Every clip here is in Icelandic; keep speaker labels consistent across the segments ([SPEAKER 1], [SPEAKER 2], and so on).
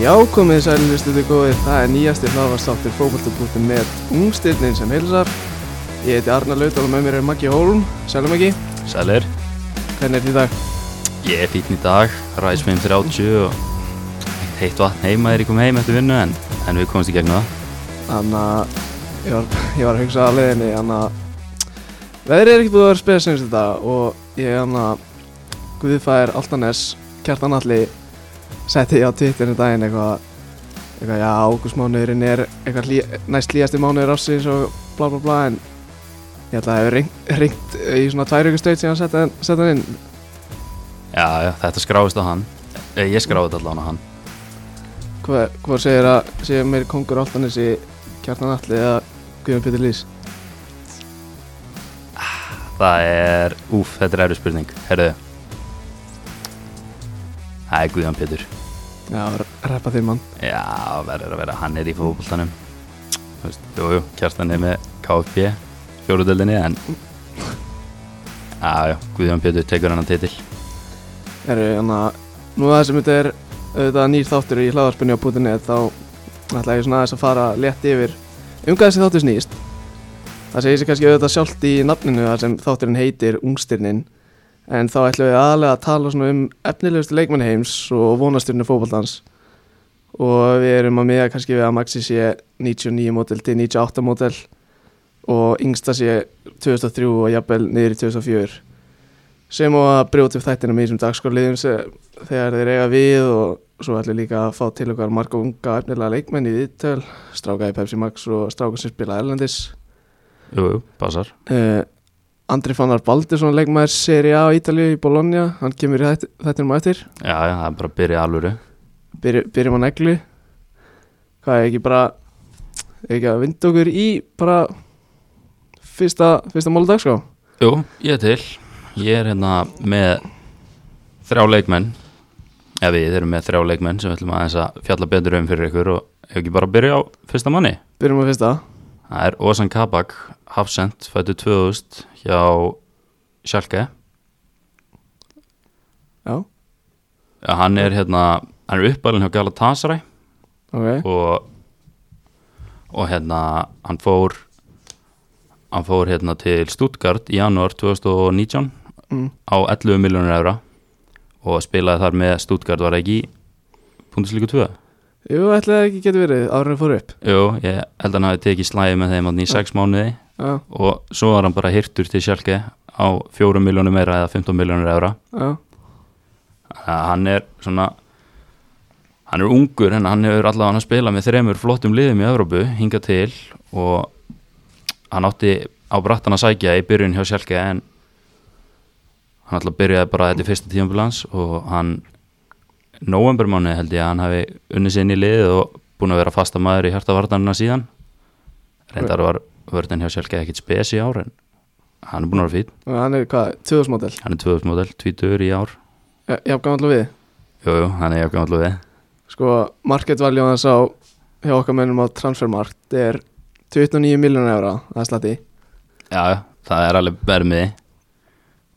[SPEAKER 1] Já, komið sælinlustuðu góðir, það er nýjasti hlaðvarstáttur fókbaltabúttum með ungstirnin sem heilsar. Ég heiti Arnar Laudal og með mér er Maggi Hólm, sælum Maggi,
[SPEAKER 2] Sælir,
[SPEAKER 1] hvernig er því dag?
[SPEAKER 2] ég er fítn í dag, ræs með um 30 og heitt vatn heima er ég kom heim eftir vinnu en, en við komumst í gegn það.
[SPEAKER 1] Þannig að ég var, ég var að hugsa að leiðinni, þannig að veðrið er ekkert búið að vera spes eins og þetta og ég hann að Guðfær Altanes, Kjartan Alli, setti ég á Twitterinu daginn eitthvað, eitthvað já, águstmánuðurinn er eitthvað hlý, næst hlýjasti mánuður ásins og bla bla bla en ég held að það hefur ringt í svona tvær ykkur stöð síðan að setja hann- setja hann inn.
[SPEAKER 2] Já, já, þetta skráðist á hann, e, ég skráði þetta allan á hann.
[SPEAKER 1] Hvað, hvað segir að segir meir kongur Altanesi, Kjartan Alli eða Guðjón Pétur Lís?
[SPEAKER 2] Það er, úf, þetta er erfið spurning, herðu. Það er Guðjón Pétur.
[SPEAKER 1] Já, reppa þinn mann.
[SPEAKER 2] Já, verður að vera, hann er í fókbóltanum. Þú veist, jú, jú, kjartan er með KFB, fjóruðöldinni, en... Já, já, Guðjón Pétur tekur hann að titil.
[SPEAKER 1] Herru, þannig að nú að það sem þetta er auðvitað nýr þáttur í hlaðarspunni á pútinni þá ætla ég svona aðeins að fara létt yfir um hvað þessi þáttur snýst. Það segir sér kannski auðvitað sjálft í nafninu þar sem þátturinn heitir Ungstirnin en þá ætlum við aðalega að tala svona um efnilegustu leikmann heims og vonasturnu fótballtans og við erum að miða kannski við að Maxi sé 99 mótel til 98 mótel og yngsta sé 2003 og jafnvel niður í 2004 sem og að brjóta upp þættina með þessum dagskorliðum sem- þegar þeir eiga við og svo ætlum við líka að fá til okkar marga unga efnilega leikmenn í viðtöl stráka í Pepsi Max og stráka sem spila erlendis
[SPEAKER 2] Jú, jú, passar.
[SPEAKER 1] uh, Andri Fannar Baldursson leikmæður seri A á Ítalíu í Bologna hann kemur í þætt- þættinum á eftir
[SPEAKER 2] Já, já, það er bara að byrja í alvöru.
[SPEAKER 1] Byrj, byrjum á neglu hvað er ekki bara er ekki að vinda okkur í bara fyrsta, fyrsta mál dagskrá
[SPEAKER 2] Jú, ég er til Ég er hérna með þrjá leikmenn eða við erum með þrjá leikmenn sem við ætlum aðeins að fjalla betur um fyrir ykkur og ef ekki bara byrja á fyrsta manni
[SPEAKER 1] byrjum á fyrsta
[SPEAKER 2] Það er Ozan Kabak, Hafsend fættu 2000 hjá Schalke
[SPEAKER 1] já,
[SPEAKER 2] Ja, Hann er hérna, hann er uppalinn hjá Galatasaray
[SPEAKER 1] ok
[SPEAKER 2] og og hérna, hann fór hann fór hérna til Stuttgart í janúar 2019
[SPEAKER 1] mm.
[SPEAKER 2] á 11 miljónur evra og spilaði þar með Stuttgart var það ekki Pundislíku 2
[SPEAKER 1] jú, ætli það ekki getur verið árið fór upp
[SPEAKER 2] Jú, ég held að hann hafi tekið slæði með þeim þarna í 6 mánuði
[SPEAKER 1] já,
[SPEAKER 2] og svo var hann bara hirtur til sjálfke á 4 miljónum meira eða 15 miljónur evra
[SPEAKER 1] já
[SPEAKER 2] þannig að hann er svona hann er ungur en hann hefur allavega hann að spila með þremur flottum liðum í Evrópu hingað til og hann átti á brattan að sækja í byrjun hjá Sjálke en hann alltaf byrjaði bara þetta er fyrsta tíðanbúl hans og hann novembermánuði held ég að hann hafi unnið sér inn í liðið og búin að vera fasta maður í hjartavartanina síðan reyndar var vörðin hjá Sjálke ekkit spes í ár en hann er búin að vera fýtt
[SPEAKER 1] Og hann er hvað, 2000 model
[SPEAKER 2] hann er 2000-modell, 20 í ár
[SPEAKER 1] Já, gammal við
[SPEAKER 2] jújú, jú, hann er jafn gamall og við
[SPEAKER 1] Sko, market value hans á hjá okkar mönnum á transfermarkt er 29 miljonar eura, það er slatti
[SPEAKER 2] Já, já, það er alveg vermiði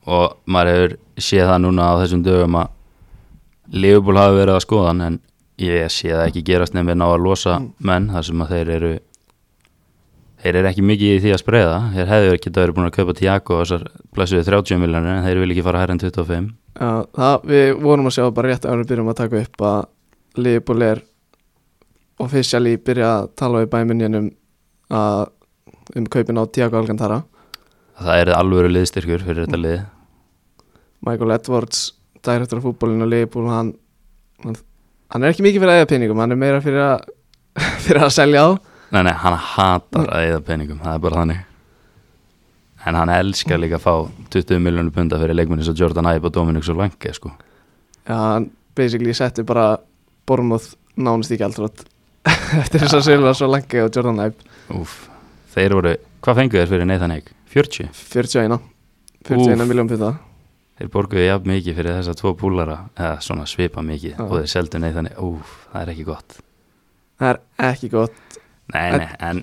[SPEAKER 2] og maður hefur séð það núna á þessum dögum að Liverpool hafi verið að skoða hann en ég sé það ekki gerast nefnir ná að losa menn þar sem að þeir eru þeir eru ekki mikið í því að spreða þeir hefðu ekki verið búin að kaupa Tiago þessar blessuðu 30 miljonir en þeir vil ekki fara hærri en 25
[SPEAKER 1] Já, það, við vorum að sjá bara rétt ára byrjum að taka upp að Liverpool er officially byrja að tala við bæminninum að um kaupin á Tiago Alcantara
[SPEAKER 2] það er alvöru liðstyrkur fyrir þetta lið
[SPEAKER 1] Michael Edwards, direktur af fútbólinu og Liverpool, hann, hann hann er ekki mikið fyrir að eða peningum, hann er meira fyrir að fyrir að selja á
[SPEAKER 2] Nei, nei, hann hatar að eða peningum, það er bara þannig En hann elskar líka að fá 20 miljónir punda fyrir leikminni svo Jordan Ibe og Dominic Solanke sko.
[SPEAKER 1] Já, hann basically setti bara Bormoth nánast í gældrótt eftir þess að Silva svo langi og Jordan Ibe
[SPEAKER 2] Úf, þeir voru, hvað fengu þeir fyrir Nathan Hake? 40?
[SPEAKER 1] 41 41 miljón pita
[SPEAKER 2] Þeir borguðu jafn mikið fyrir þessa tvo púlara eða svona svipa mikið
[SPEAKER 1] Já.
[SPEAKER 2] og þeir seldu Nathan Hake, úf, það er ekki gott
[SPEAKER 1] Það er ekki gott
[SPEAKER 2] Nei, nei, en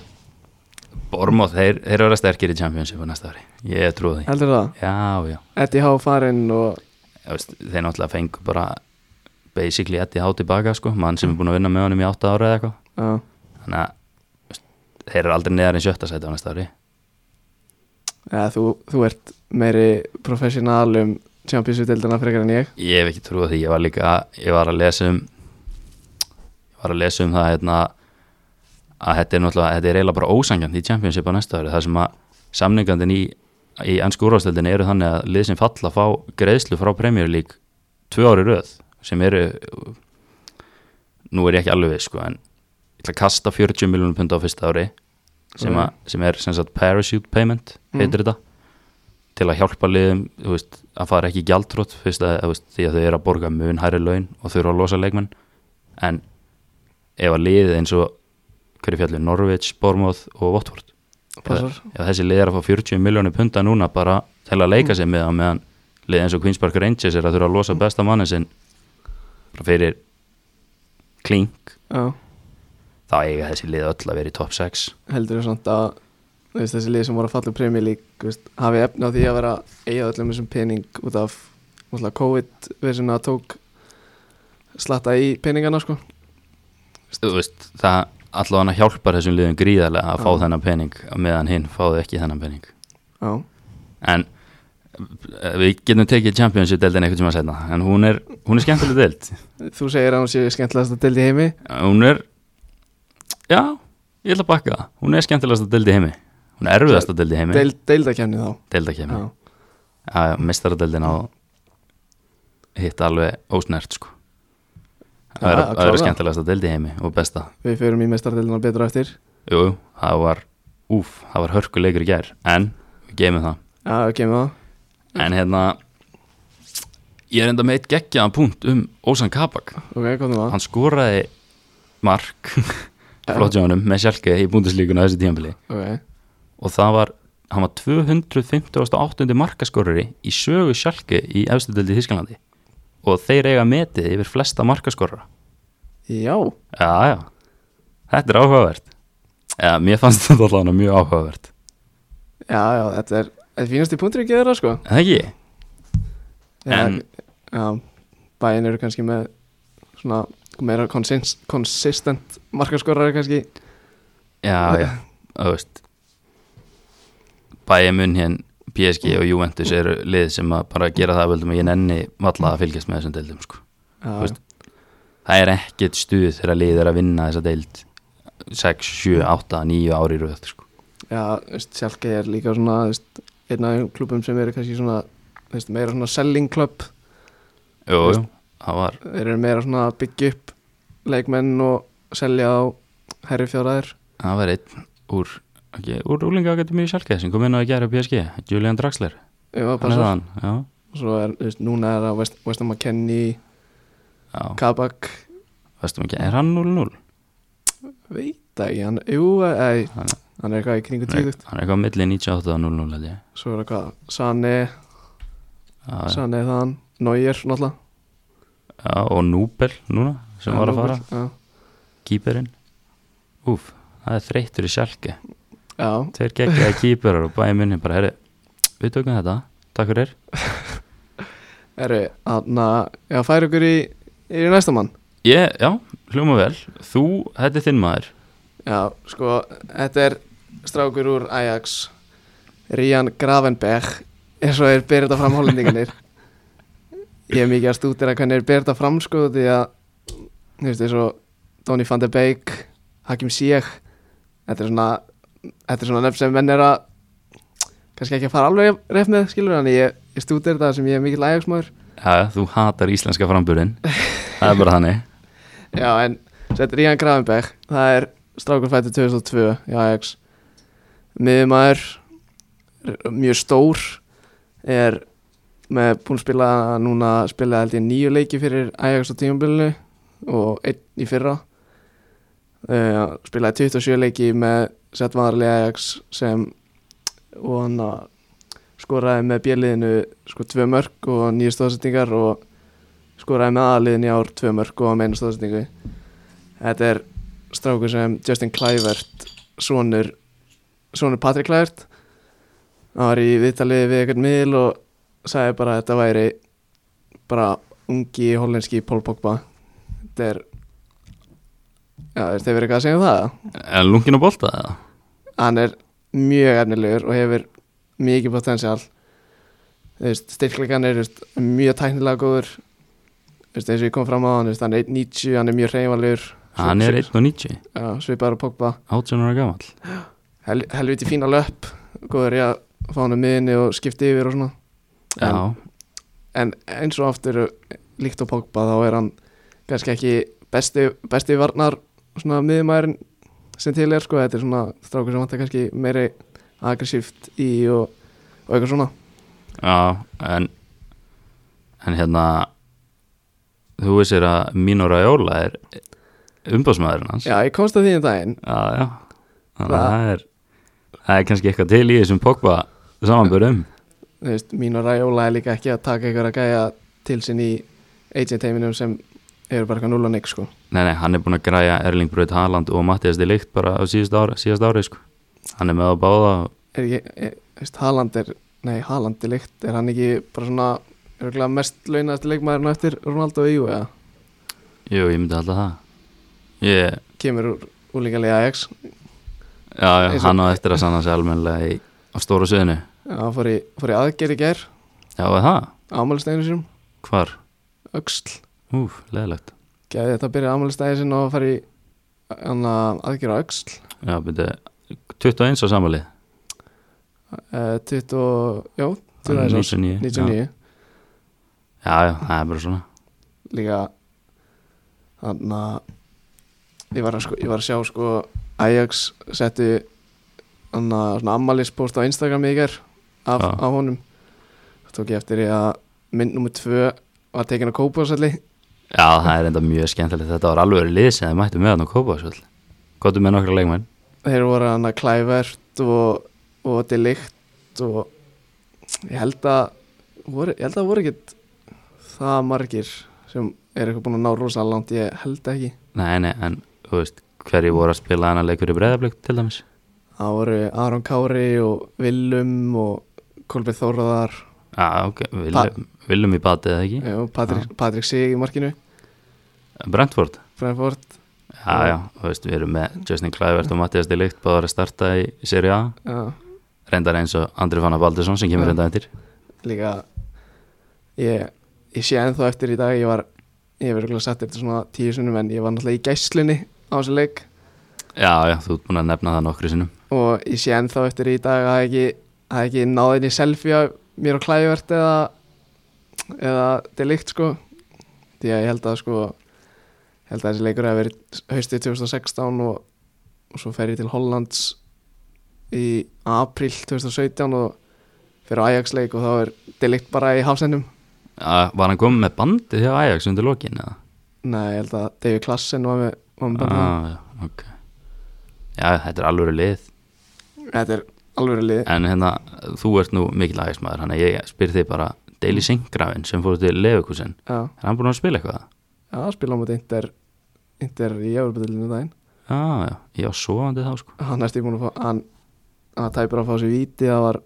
[SPEAKER 2] Bormóð, þeir, þeir verða sterkir í Championship á næsta ári, ég trúi því
[SPEAKER 1] Heldur það?
[SPEAKER 2] Já, já,
[SPEAKER 1] Eddie Há farinn og
[SPEAKER 2] Ég veist, þeir náttúrulega fengu bara basically Eddie Há tilbaka sko, mann sem er búin að vinna með honum í 8 ára eða eitthvað
[SPEAKER 1] Já,
[SPEAKER 2] þannig að þú veist, þeir eru aldrei neðar en sjötta sæti á næsta ári
[SPEAKER 1] ja, þú, þú ert meiri professional um Champions-deildina frekar en ég
[SPEAKER 2] ég hef ekki trúið því, ég var líka ég var að lesa um ég var að lesa um það hérna, að þetta er náttúrulega, þetta er eiginlega bara ósangjant í Championship á næsta ári, það sem að samningandin í, í ennsku úrvastöldin eru þannig að lið sem falla fá greiðslu frá Premier League tvö ári röð sem eru nú er ég ekki alveg við sko en ég ætla að kasta 40 miljónum pund á fyrsta ári sem, að, sem er sem sagt parachute payment heitir þetta til að hjálpa liðum þú veist, að fara ekki gjaldrótt fyrst að, þú veist, því að þau eru að borga mun hærri laun og þurfa að losa leikmenn en ef að liðið eins og hverju fjallið Norvits, Bormóð og Votvort
[SPEAKER 1] Passar.
[SPEAKER 2] ef þessi lið er að fá 40 miljónir punta núna bara til að leika sig með það meðan lið eins og Queen's Park Rangers er að þurfa að losa besta manni sinn bara fyrir klink
[SPEAKER 1] Já,
[SPEAKER 2] þá eiga þessi lið öll að vera í top 6
[SPEAKER 1] heldur þú samt að þú veist, þessi lið sem voru að falla úr Premier League þú veist, hafi efni á því að vera eigað öllum þessum pening út af náttúrulega, COVID verðsina tók slatta í peningana sko
[SPEAKER 2] þú veist, það allavega hjálpar þessum liðum gríðarlega að fá
[SPEAKER 1] Já.
[SPEAKER 2] þennan pening meðan hinn fáðu ekki þennan pening
[SPEAKER 1] Já,
[SPEAKER 2] en eh, við getum tekið Championship deildin eitthvað sem að segna en hún er, hún er skemmtileg deild
[SPEAKER 1] þú segir að hún sé skemmtilegast að deildi heimi
[SPEAKER 2] hún er já, ég ætla að bakka það hún er skemmtilegast að deildi heimi hún er erfiðast að deildi heimi
[SPEAKER 1] Deil, deildakefni þá
[SPEAKER 2] deildakefni,
[SPEAKER 1] Já,
[SPEAKER 2] mistaradeildin á hitt alveg ósnert sko
[SPEAKER 1] Já,
[SPEAKER 2] það er, það
[SPEAKER 1] klárlega.
[SPEAKER 2] er skemmtilegast að deildi heimi og besta
[SPEAKER 1] við förum í mestardeildina betur á eftir
[SPEAKER 2] Jú, jú, það var úf, það var hörkuleikur í gær en við geymum það
[SPEAKER 1] Já, ok, með það
[SPEAKER 2] en hérna ég er enda með eitt geggjaðan punkt um Ósan Kabak
[SPEAKER 1] Ok, hvað það?
[SPEAKER 2] hann skoraði mark flott hjá honum með sjálke í búndislíkuna þessu tíðanbili
[SPEAKER 1] Ok,
[SPEAKER 2] og það var, hann var 258. markaskorari í sögu sjálke í efstudöldi Þísklandi og þeir eiga metið yfir flesta markaskorara
[SPEAKER 1] já
[SPEAKER 2] Já, já, þetta er áhugavert Já, mér fannst þetta allavega mjög áhugavert
[SPEAKER 1] Já, já, þetta er Þetta er fínasti punktur ekki þeirra sko
[SPEAKER 2] Er Það ekki?
[SPEAKER 1] Já,
[SPEAKER 2] En-
[SPEAKER 1] Já, bæin eru kannski með Svona meira konsins, konsistent markaskorari kannski
[SPEAKER 2] Já, já, þú veist Bayern München, PSG og Juventus eru lið sem að bara gera það að völdum og ég nenni valla að fylgjast með þessum deildum sko.
[SPEAKER 1] Já,
[SPEAKER 2] Þú veist, Það er ekkert stuð þegar lið er að vinna þessa deild 6, 7, 8, 9 ári í röð sko.
[SPEAKER 1] Já, þú veist, sjálfgeið er líka svona þú veist, einn af þeim klubum sem eru kannski svona þú veist, meira svona selling club
[SPEAKER 2] Jú,
[SPEAKER 1] Þú
[SPEAKER 2] jú, það var
[SPEAKER 1] þeir eru meira svona að byggja upp leikmenn og selja á herri fjóraðir
[SPEAKER 2] það var einn úr ekki, úr úlinga akademi í Sjálkeið sem kom inn á að gera PSG, Julian Draxler hann er
[SPEAKER 1] og
[SPEAKER 2] hann, já,
[SPEAKER 1] svo er, þú veist, núna er það West- Weston McKennie,
[SPEAKER 2] já
[SPEAKER 1] Kabak
[SPEAKER 2] veistum ekki, er hann 0-0?
[SPEAKER 1] veit það ekki, hann, jú, ei,
[SPEAKER 2] Hann-
[SPEAKER 1] hann er eitthvað í kringu
[SPEAKER 2] Nei, hann er
[SPEAKER 1] tíðugt
[SPEAKER 2] eitthvað á milli 98 og 0-0 held ég.
[SPEAKER 1] svo er eitthvað Sane,
[SPEAKER 2] Já, já.
[SPEAKER 1] Sane þann Neuer náttúrulega
[SPEAKER 2] Já, og Núbel núna sem var að fara,
[SPEAKER 1] já,
[SPEAKER 2] kýperinn Úf, það er þreyttur í sjálki
[SPEAKER 1] já,
[SPEAKER 2] Tveir geggjaði kýperar og bæði minni bara, herri, við tökum þetta Takk fyrir
[SPEAKER 1] eru, hann já, færi ykkur í, í næsta mann
[SPEAKER 2] Ég, já, hljóma vel, þú, þetta er þinn maður
[SPEAKER 1] Já, sko, þetta er strákur úr Ajax Rían Gravenberg eins og er byrða fram hollendingarnir Ég er mikið að stútir að hvernig er byrða fram, sko, því að þú veist, eins og Donny van de Beek Hakim Ziyech þetta er svona, þetta er svona nefn sem menn er að kannski ekki að fara alveg reyf með, skilur hann ég, ég stútir þetta sem ég er mikill Ajax maður
[SPEAKER 2] Já, þú hatar íslenska framburinn Það er bara þannig
[SPEAKER 1] Já, en sett Rían Gravenberg Það er strákur fættur 2002 í Ajax Miðumæður Mjög stór Er með búin að spila Núna spilaði held ég nýju leiki fyrir Ajax á tímabilinu Og einn í fyrra uh, Spilaði 27 leiki með Sett vanarlega Ajax sem Og hann að skoraði með bjöliðinu sko tvö mörg og nýju stóðsettingar og skoraði með aðliðin í ár tvö mörg og meina stóðsendingu þetta er strákur sem Justin Kluivert sonur, sonur Patrick Kluivert hann var í viðtalið við eitthvað miðl og sagði bara að þetta væri bara ungi hollenski Paul Pogba þetta er já, er þeir verið eitthvað að segja um það eða?
[SPEAKER 2] Er lungin að bolta eða?
[SPEAKER 1] hann er mjög efnilegur og hefur mikið potensial styrkleikan er þú veist, mjög tæknilega góður Þú veist, eins og ég kom fram á hann þú veist, hann er 1.90, hann er mjög reyvalur
[SPEAKER 2] Hann er 1.90,
[SPEAKER 1] svipaður og Pogba
[SPEAKER 2] 18 ára gamall
[SPEAKER 1] Hel, helviti fína löpp góður ég að fá hann um miðinni og skipta yfir og svona
[SPEAKER 2] Já,
[SPEAKER 1] en eins og aftur líkt á Pogba þá er hann kannski ekki besti, besti varnar svona miðumæðurinn sem til er sko, þetta er svona strákur sem vantar kannski meiri aggressíft í og, og eitthvað svona
[SPEAKER 2] Já, en en hérna þú vissir að Mino Raiola er umbásmaðurinn hans
[SPEAKER 1] Já, ég komst að því um daginn
[SPEAKER 2] já, já. Þannig að það er það er kannski eitthvað til í þessum Pogba samanbörðum
[SPEAKER 1] þú veist, mín og Rajóla er líka ekki að taka einhverja gæja til sín í agent-heiminum sem eru bara eitthvað 0 og nix sko
[SPEAKER 2] Nei, nei, hann er búin að græja Erling Braut Haaland og Mattias de Ligt bara á síðast ári, síðast ári sko. hann er með að báða og-
[SPEAKER 1] er ekki, er, þú veist, Haaland er nei, Haaland er líkt, er hann ekki bara svona, er ekki mest launast leikmaðurinn á eftir Ronaldo E og EU eða
[SPEAKER 2] jú, ég myndi alltaf það ég,
[SPEAKER 1] kemur úr úlingalega Ajax
[SPEAKER 2] já, já,
[SPEAKER 1] Eins og-
[SPEAKER 2] hann á eftir að sanna sér almennilega í, á stóra söðinu
[SPEAKER 1] hann fór í, fór í aðgerð í ger
[SPEAKER 2] já, er það,
[SPEAKER 1] ámælistæðinu sinum,
[SPEAKER 2] hvar,
[SPEAKER 1] öxl
[SPEAKER 2] úf, leðilegt
[SPEAKER 1] gæði þetta að byrja ámælistæðinu sinum og fara í hann að aðgerð á öxl
[SPEAKER 2] já, byrju, 21 á samalið
[SPEAKER 1] uh, 20, og- já, 20 árs,
[SPEAKER 2] 99 já.
[SPEAKER 1] 99
[SPEAKER 2] já, já, það er bara svona
[SPEAKER 1] líka hann að ég var að, sko, ég var að sjá sko Ajax settu hann að svona ammalispóst á Instagram í ger af,
[SPEAKER 2] Já.
[SPEAKER 1] af honum þá tók ég eftir því að mynd nummer 2 var tekin að kópa sælli
[SPEAKER 2] Já, það er enda mjög skemmtilegt Þetta var alveg lið sem þið mættu með hann og kópa svolítið Kóttu með nokkra leikmenn
[SPEAKER 1] þeir voru hann að klævert og, og delikt og ég held að voru, ég held að voru ekkit það margir sem er eitthvað búin að ná rosa langt ég held ekki
[SPEAKER 2] Nei, nei, en þú veist Hverju voru að spila hann að leikur í breyðablík til dæmis
[SPEAKER 1] Það voru Aron Kári og Willum og Kolbjörn Þóraðar
[SPEAKER 2] Já, ok, viljum, viljum í batið eða ekki
[SPEAKER 1] og Patrik, Patrik Sig í markinu
[SPEAKER 2] Brentford
[SPEAKER 1] Brentford
[SPEAKER 2] Já, já, þú veist, við erum með Justin Kluivert og Mattias Delikt Báðar að starta í Serie A
[SPEAKER 1] já,
[SPEAKER 2] Reyndar eins og Andri Fanna Baldursson sem kemur
[SPEAKER 1] Já.
[SPEAKER 2] reynda eftir
[SPEAKER 1] líka ég, ég sé ennþá eftir í dag ég var, ég verður ekki sett eftir svona tíu sunnum en ég var náttúrulega í gæslinni á þessu leik
[SPEAKER 2] Já, já, þú ert búin að nefna það nokkru sinnum
[SPEAKER 1] og ég sé ennþá eftir í dag að ekki, að ekki náði inn í selfie af mér og klæðivert eða eða delikt sko því að ég held að sko held að þessi leikur hefði verið haustið 2016 og, og svo fer ég til Hollands í april 2017 og fyrir Ajax leik og þá er delikt bara í hafsendum
[SPEAKER 2] Já, Var hann komið með bandið hjá Ajax undir lokin eða?
[SPEAKER 1] nei, ég held að David Klassen var með, var með ah.
[SPEAKER 2] Já, já, ok Já, þetta er alveg lið
[SPEAKER 1] þetta er alveg lið
[SPEAKER 2] En hérna, þú ert nú mikil aðeinsmaður Þannig að ég spyr þig bara Daily Singrafin sem fór til Lefukusin
[SPEAKER 1] já,
[SPEAKER 2] Er hann búinn að spila eitthvað?
[SPEAKER 1] já, spila á móti Inter, Inter í Európa-dildinu daginn
[SPEAKER 2] Já, já, ég var svoandi þá sko
[SPEAKER 1] hann næstu búin að fá hann, hann tæpur að fá sér víti það var,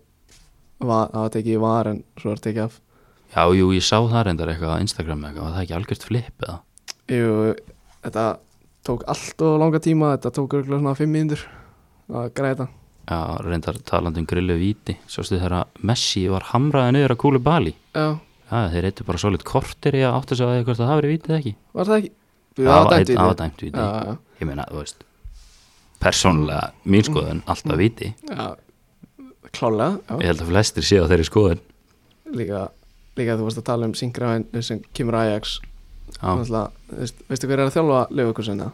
[SPEAKER 1] var, það var tekið í var en svo var tekið af
[SPEAKER 2] Já, jú, ég sá það reyndar eitthvað á Instagram eitthvað Var það ekki algjört flip eða?
[SPEAKER 1] Jú, þetta tók allt og langa tíma þetta tók örgulega svona fimm mínútur að græða þetta
[SPEAKER 2] Já, reyndar talandi um grillu víti Sástu þegar að Messi var hamraði niður að kúlu bali
[SPEAKER 1] já,
[SPEAKER 2] Já, þeir reyttu bara solid kortir í að átta sig á því hvort það hafi verið vítið eða ekki
[SPEAKER 1] var það ekki? Jú,
[SPEAKER 2] Það var-
[SPEAKER 1] dæmt víti.
[SPEAKER 2] það var dæmt víti.
[SPEAKER 1] já, já,
[SPEAKER 2] Ég meina, þú veist Persónlega mín skoðun, alltaf viti
[SPEAKER 1] já, klálega
[SPEAKER 2] Ég
[SPEAKER 1] já.
[SPEAKER 2] held að flestir séu á þeirri skoðun
[SPEAKER 1] líka, líka þú varst að tala um Singraven sem kemur Ajax
[SPEAKER 2] Já,
[SPEAKER 1] Náttúrulega, veist, veistu hver er að þjálfa Leifurkursen það?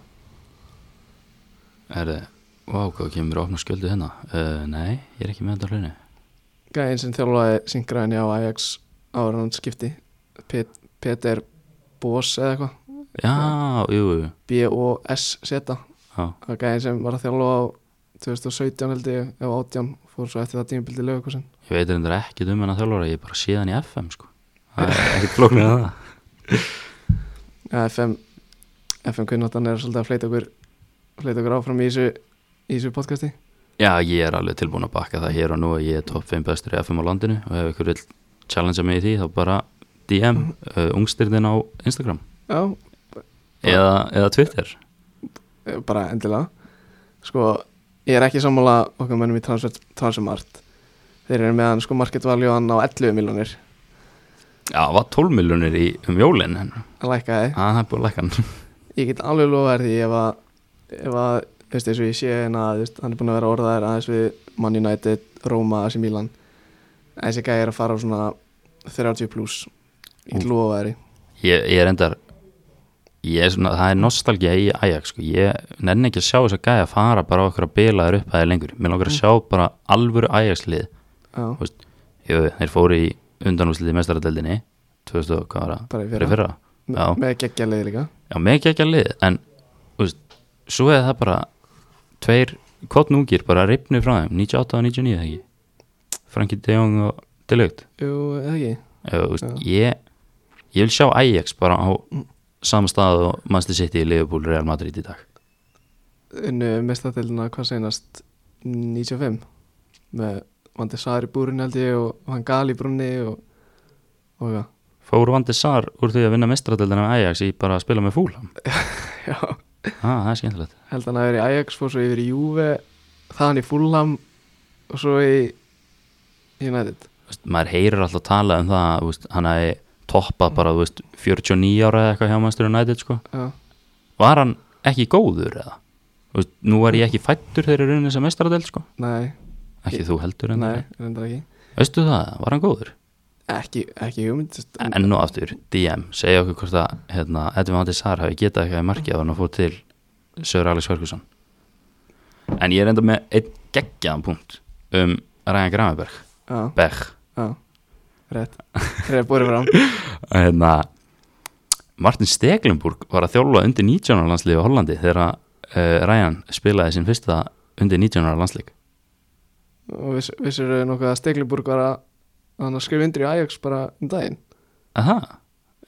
[SPEAKER 2] er þið Vá, hvað kemur að opna skjöldu hérna? Uh, nei, ég er ekki með þetta á hlunni
[SPEAKER 1] gæðin sem þjálfaði Singraven á Ajax ára hann skipti Pet, Peter Bós eða eitthvað
[SPEAKER 2] Já, jú, jú, jú.
[SPEAKER 1] B-O-S-Z
[SPEAKER 2] já,
[SPEAKER 1] það er gæðin sem var að þjálfa á 2017 held ég, eða 18 fór svo eftir það tímabildi lögurkursin
[SPEAKER 2] ég veit reyndar ekki um hennar þjálfara, ég er bara síðan í FM sko Það er ekkert flóknir að það
[SPEAKER 1] FM, FM kunnáttan er svolítið að fleita okkur fleita okkur áfram í þessu, í þessu podcasti
[SPEAKER 2] Já, ég er alveg tilbúin að bakka það hér og nú að ég er topp 5 bestur í FM á landinu og ef ykkur vil challengea mig í því þá bara DM uh, ungstyrðin á Instagram
[SPEAKER 1] já,
[SPEAKER 2] eða, eða Twitter
[SPEAKER 1] eh, bara endilega sko, ég er ekki sammála okkar mönnum í transfer, transfermart þeir eru meðan sko market value hann á 11 miljonir
[SPEAKER 2] Já, var 12 miljonir í um jólin en
[SPEAKER 1] að lækka þið,
[SPEAKER 2] að það er búið að lækka hann
[SPEAKER 1] ég get alveg lofa þér því ef að, ef að þú veist, eins og ég sé hérna, þú veist, hann er búin að vera orðaðir aðeins við Man United, Roma, AC Milan en þessi gæði er að fara á svona 30 pluss ég get lofa þér því
[SPEAKER 2] ég, ég er endar ég er svona, það er nostalgía í Ajax sko. ég nenni ekki að sjá þess að gæja að fara bara á okkur að bila þér upp aðeins lengur mér langar að sjá bara alvöru Ajax lið
[SPEAKER 1] Já,
[SPEAKER 2] Þú veist, jú, þeir fóru í undanúslið í mestaradeldinni 2000 og hvað var það?
[SPEAKER 1] Bara í
[SPEAKER 2] Fyrir fyrra.
[SPEAKER 1] me-
[SPEAKER 2] Já.
[SPEAKER 1] með geggjalið líka
[SPEAKER 2] Já, mikið ekki að lið en þú veist, svo er það bara tveir kottnúkir bara ripnir frá þeim 98 og 99 eða ekki Franki De Jong og Delugt
[SPEAKER 1] Jú, eða ekki
[SPEAKER 2] ég, ég vil sjá Ajax bara á
[SPEAKER 1] Mm.
[SPEAKER 2] sama stað og Manchester City, Liverpool, Real Madrid í dag
[SPEAKER 1] unnu mestadildina hvað seinast 95 með Vandi Sari búrin held ég og Van Gali brunni og, og já,
[SPEAKER 2] Fóru vandi sar úr því að vinna mestraradeldina með Ajax í bara að spila með fúlam
[SPEAKER 1] já
[SPEAKER 2] ah, það er skemmtilegt
[SPEAKER 1] held hann að vera í Ajax fór svo yfir í Juve þaðan í Fulham og svo í United
[SPEAKER 2] Þú veist, maður heyrir alltaf tala um það þú veist, hann hafi toppað bara þú veist, 49 ára eða eitthvað hjá Manchester United sko.
[SPEAKER 1] já,
[SPEAKER 2] var hann ekki góður eða Þú veist, nú er ég ekki fættur þegar ég runið þessa mestaradel sko.
[SPEAKER 1] nei,
[SPEAKER 2] ekki þú heldur en
[SPEAKER 1] nei, reyndar ekki
[SPEAKER 2] veistu það, var hann góður
[SPEAKER 1] ekki, ekki hugmynd þú veist,
[SPEAKER 2] en nú aftur, DM, segja okkur hvort að hérna, Edvin Vandi Sar hafi getað eitthvað í markið að hann að fóð til Sör Alex Ferguson en ég er enda með einn geggjaðan punkt um Ræðan Grameberg
[SPEAKER 1] já,
[SPEAKER 2] Berg
[SPEAKER 1] já, rétt rétt búið fram
[SPEAKER 2] að hérna, Martin Steglenburg var að þjálfa undir 19 ára landslið á Hollandi þegar uh, Ryan spilaði sinn fyrsta undir 19 ára landslið
[SPEAKER 1] og viss, vissir þau nokkuð að Stegliburg var að hann að skrifa undir í Ajax bara um daginn
[SPEAKER 2] Aha,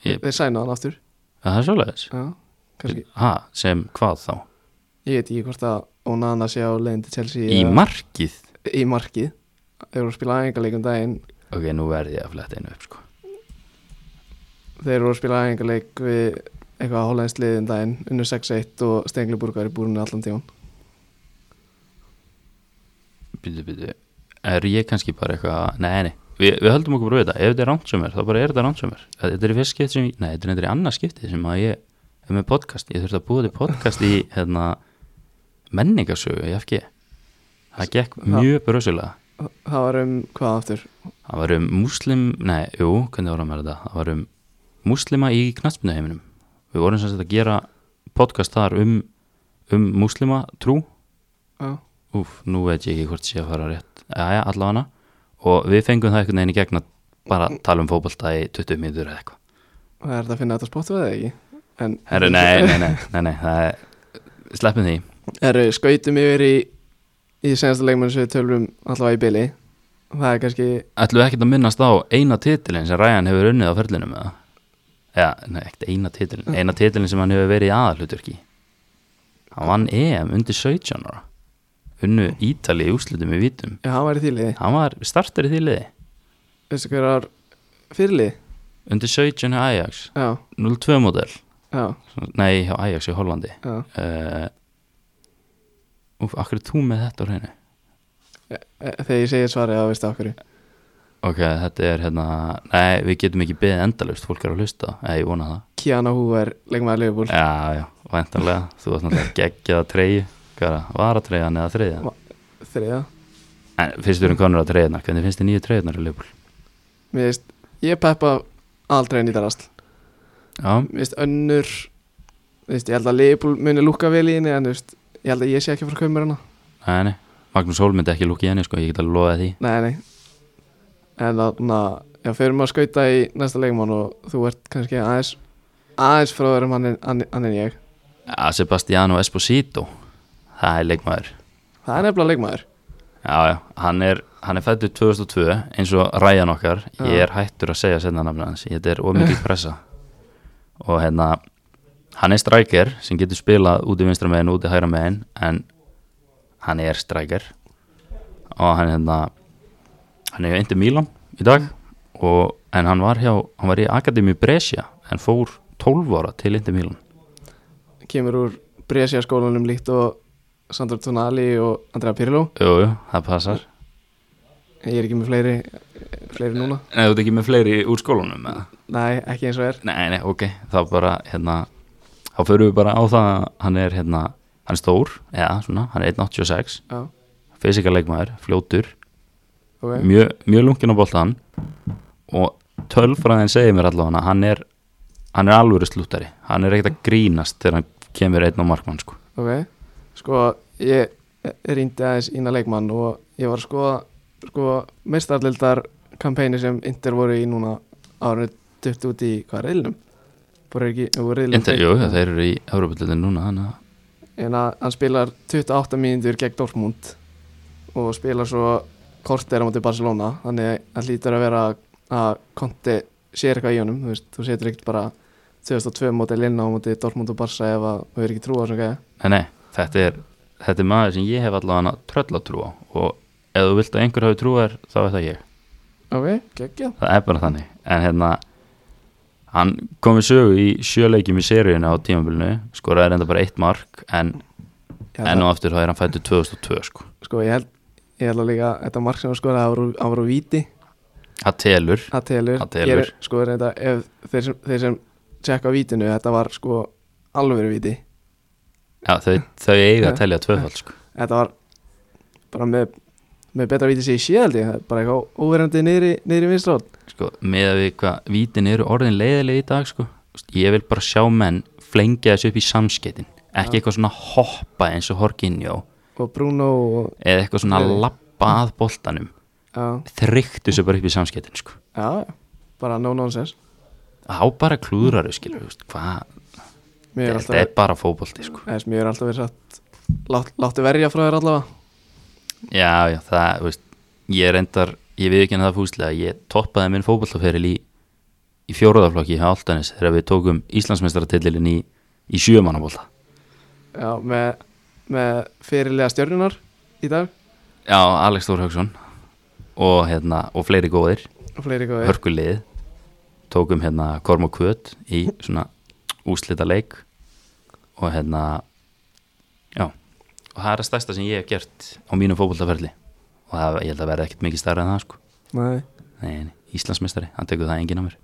[SPEAKER 2] Ég-
[SPEAKER 1] þeir sæna hann aftur
[SPEAKER 2] það er svoleiðis
[SPEAKER 1] já, kannski
[SPEAKER 2] ha, sem hvað þá?
[SPEAKER 1] Ég veit ekki hvort að Onana sé á leiðin til Chelsea
[SPEAKER 2] Í
[SPEAKER 1] eða-
[SPEAKER 2] markið?
[SPEAKER 1] Í markið Þeir voru að spila æfingarleik um daginn
[SPEAKER 2] Ok, nú verði ég að fletta einu upp sko.
[SPEAKER 1] Þeir voru að spila æfingarleik við eitthvað hollænslið um daginn unnu 6-1 og Stengliburg var í búrunni allan tíman
[SPEAKER 2] Býtu, býtu Er ég kannski bara eitthvað, nei, nei Vi, Við höldum okkur bara við þetta, ef þetta er rámt sem er þá bara er þetta rámt sem er Þetta er í fyrst skipti sem, ég- nei, þetta er þetta í annars skipti sem að ég er með podcast, ég þurfti að búa til podcast í hérna, menningarsögu í FG Það gekk mjög brösulega
[SPEAKER 1] Þa- Það var um hvað aftur
[SPEAKER 2] Það var um múslim, nei, jú, hvernig vorum við þetta Það var um múslima í knattspinnuheiminum Við vorum sem sagt að gera podcast þar um, um múslima trú
[SPEAKER 1] Já,
[SPEAKER 2] Úf, nú veit ég ekki hvort sé að fara rétt Jæja, allavega Og við fengum það einhvern veginn í gegn að bara tala um fótbolta í 20 mínútur eða eitthvað
[SPEAKER 1] það er þetta að finna þetta spottu eða ekki En
[SPEAKER 2] Herru, nei, nei, nei, nei, nei, það er Sleppum því
[SPEAKER 1] Herru, skautum yfir í í senasta leikmann sem við tölum allavega í byli Það er kannski
[SPEAKER 2] Ætlum við ekkert að minnast á eina titilin sem Ryan hefur unnið á ferlinum eða? Já, nei, ekkert eina titilin Eina titilin sem hann hefur verið í aðalhuturki Hann vann EM undir 17 ára Unnu Ítali í úslutum í vítum
[SPEAKER 1] Já, hann var í þýliði
[SPEAKER 2] Hann var startur í því liði
[SPEAKER 1] Veistu hver var fyrirlið?
[SPEAKER 2] Undir 17 hjá Ajax
[SPEAKER 1] Já,
[SPEAKER 2] 0-2 model
[SPEAKER 1] já,
[SPEAKER 2] Nei, hjá Ajax í Hollandi
[SPEAKER 1] já
[SPEAKER 2] uh, Úf, akkur er þú með þetta á hreinu?
[SPEAKER 1] E- Þegar ég segi svarið þá veistu okkur
[SPEAKER 2] Ok, þetta er hérna Nei, við getum ekki beðið endalaust, fólk er að hlusta Nei, ég vona það
[SPEAKER 1] Kiana Hoover, leikmaður Liverpool
[SPEAKER 2] Já, já, væntanlega, þú varst náttúrulega geggjað að treyju Hvað er það, varatreyjan eða
[SPEAKER 1] Va-
[SPEAKER 2] þreyja?
[SPEAKER 1] þriða
[SPEAKER 2] En fyrst erum konur að treyjunar, hvernig finnst þið nýju treyjunar í Leopold?
[SPEAKER 1] Mér veist, ég peppa aldrei nýta rast
[SPEAKER 2] Já,
[SPEAKER 1] Mér veist, önnur Mér veist, ég held að Leopold muni lúka vel í henni En þú veist, ég held að ég sé ekki frá kaumur hana
[SPEAKER 2] nei, nei Magnús Hól myndi ekki lúkið henni, sko, ég get alveg loðið því
[SPEAKER 1] Nei, nei En þannig að, já, förum að skauta í næsta leikmann Og þú ert kannski aðeins Aðeins frá þeirra mann en ég
[SPEAKER 2] Já, Sebastiano Esposito Það er leikmaður
[SPEAKER 1] Það er nefnilega leikmaður
[SPEAKER 2] Já, já, hann er, hann er fættur 2002 eins og ræjan okkar
[SPEAKER 1] Já.
[SPEAKER 2] ég er hættur að segja senna nafna hans þetta er ómikið pressa og hérna, hann er strækir sem getur spilað út í vinstra megin út í hægra megin en hann er strækir og hann hérna hann er í Inter Milan í dag og en hann var, hjá, hann var í Akademi Brescia en fór 12 ára til Inter Milan
[SPEAKER 1] kemur úr Brescia skólanum líkt og Sandro Tonali og Andrea Pirlo
[SPEAKER 2] Jú, jú, það passar
[SPEAKER 1] ég er ekki með fleiri, fleiri núna
[SPEAKER 2] Nei, þú ert ekki með fleiri úr skólanum eða?
[SPEAKER 1] nei, ekki eins og er
[SPEAKER 2] Nei, nei, ok, þá bara hérna, þá förum við bara á það að hann er hérna, hann er stór eða svona, hann er 1.86
[SPEAKER 1] já,
[SPEAKER 2] fysikalegmaður, fljótur,
[SPEAKER 1] ok,
[SPEAKER 2] mjög mjö lunkin á boltan og tölfræðin segir mér allavega að hann er hann er alvöru slúttari, hann er ekkert að grínast þegar hann kemur einn á markmann sko.
[SPEAKER 1] ok sko, ég rýndi aðeins ína leikmann og ég var að skoða sko, mestarlildar kampæni sem Inter voru í núna árið dutt út í, hvað, reyðlinum? voru ekki, voru reyðlinum
[SPEAKER 2] Inter, jú, þeir eru í Európa-dildin núna, þannig að
[SPEAKER 1] en að hann spilar 28 mínútur gegn Dortmund og spilar svo korter á móti Barcelona þannig að lítur að vera að Conte sér eitthvað í honum þú, veist, þú setur ekkert bara 2002 móti Lina á móti Dortmund og Barca ef að þú er ekki trú á þessum gæja
[SPEAKER 2] Nei, nei, þetta er, þetta er maður sem ég hef allavega tröllatrú á og ef þú vilt að einhver hafi trú þér, þá er það ég
[SPEAKER 1] ok, geggjað
[SPEAKER 2] það er bara þannig en hérna hann kom í sögu í sjöleikjum í seríuna á tímabilinu, skoraði reynda bara eitt mark en enn og aftur þá er hann fættur 2002 sko
[SPEAKER 1] sko ég held, ég held að líka að þetta mark sem að skora að voru, að voru víti
[SPEAKER 2] það telur,
[SPEAKER 1] það telur,
[SPEAKER 2] Það telur.
[SPEAKER 1] Ég er- sko reynda ef þeir sem, þeir sem tjekka á vítinu þetta var sko alvöru víti
[SPEAKER 2] já, þau, þau eiga að telja tvöfald sko
[SPEAKER 1] þetta var bara með, með betra vítið sér í síðaldi bara eitthvað óverandi niðri, niðri vinstról
[SPEAKER 2] sko, með að við hvað vítin eru orðin leiðileg í dag sko Þú veist, ég vil bara sjá menn flengja þessu upp í samskettin ekki eitthvað svona hoppa eins og Horkinjó
[SPEAKER 1] og Bruno og,
[SPEAKER 2] eða eitthvað svona
[SPEAKER 1] Nei.
[SPEAKER 2] lappa að boltanum
[SPEAKER 1] já,
[SPEAKER 2] þryktu þessu bara upp í samskettin sko
[SPEAKER 1] já, bara no nonsense
[SPEAKER 2] á bara klúðraru skilur, þú veist, hvað
[SPEAKER 1] mér er
[SPEAKER 2] þetta er
[SPEAKER 1] alltaf,
[SPEAKER 2] bara fótbolti sko
[SPEAKER 1] eða, mér er alltaf verið satt lát, láttu verja frá þér allavega
[SPEAKER 2] Já, já, það, þú veist, ég reyndar, ég við ekki henni það fúslega, ég toppaði minn fótballtaferil í, í fjóruðaflokki hjá Altanis þegar við tókum Íslandsmeistaratillilin í, í sjömanabólta.
[SPEAKER 1] já, með, með fyrirlega stjörnunar í dag
[SPEAKER 2] Já, Alex Þór Hauksson og, hérna, og fleiri góðir,
[SPEAKER 1] og fleiri góðir
[SPEAKER 2] hörkulið, tókum hérna Korm og Kvöt í svona úslita leik og hérna, já, og það er að stærsta sem ég hef gert á mínu fótballtaferli og það, ég held að verða ekkert mikið starra en það, sko.
[SPEAKER 1] nei
[SPEAKER 2] Nei, nei, Íslandsmeistari, hann tekur það enginn á mér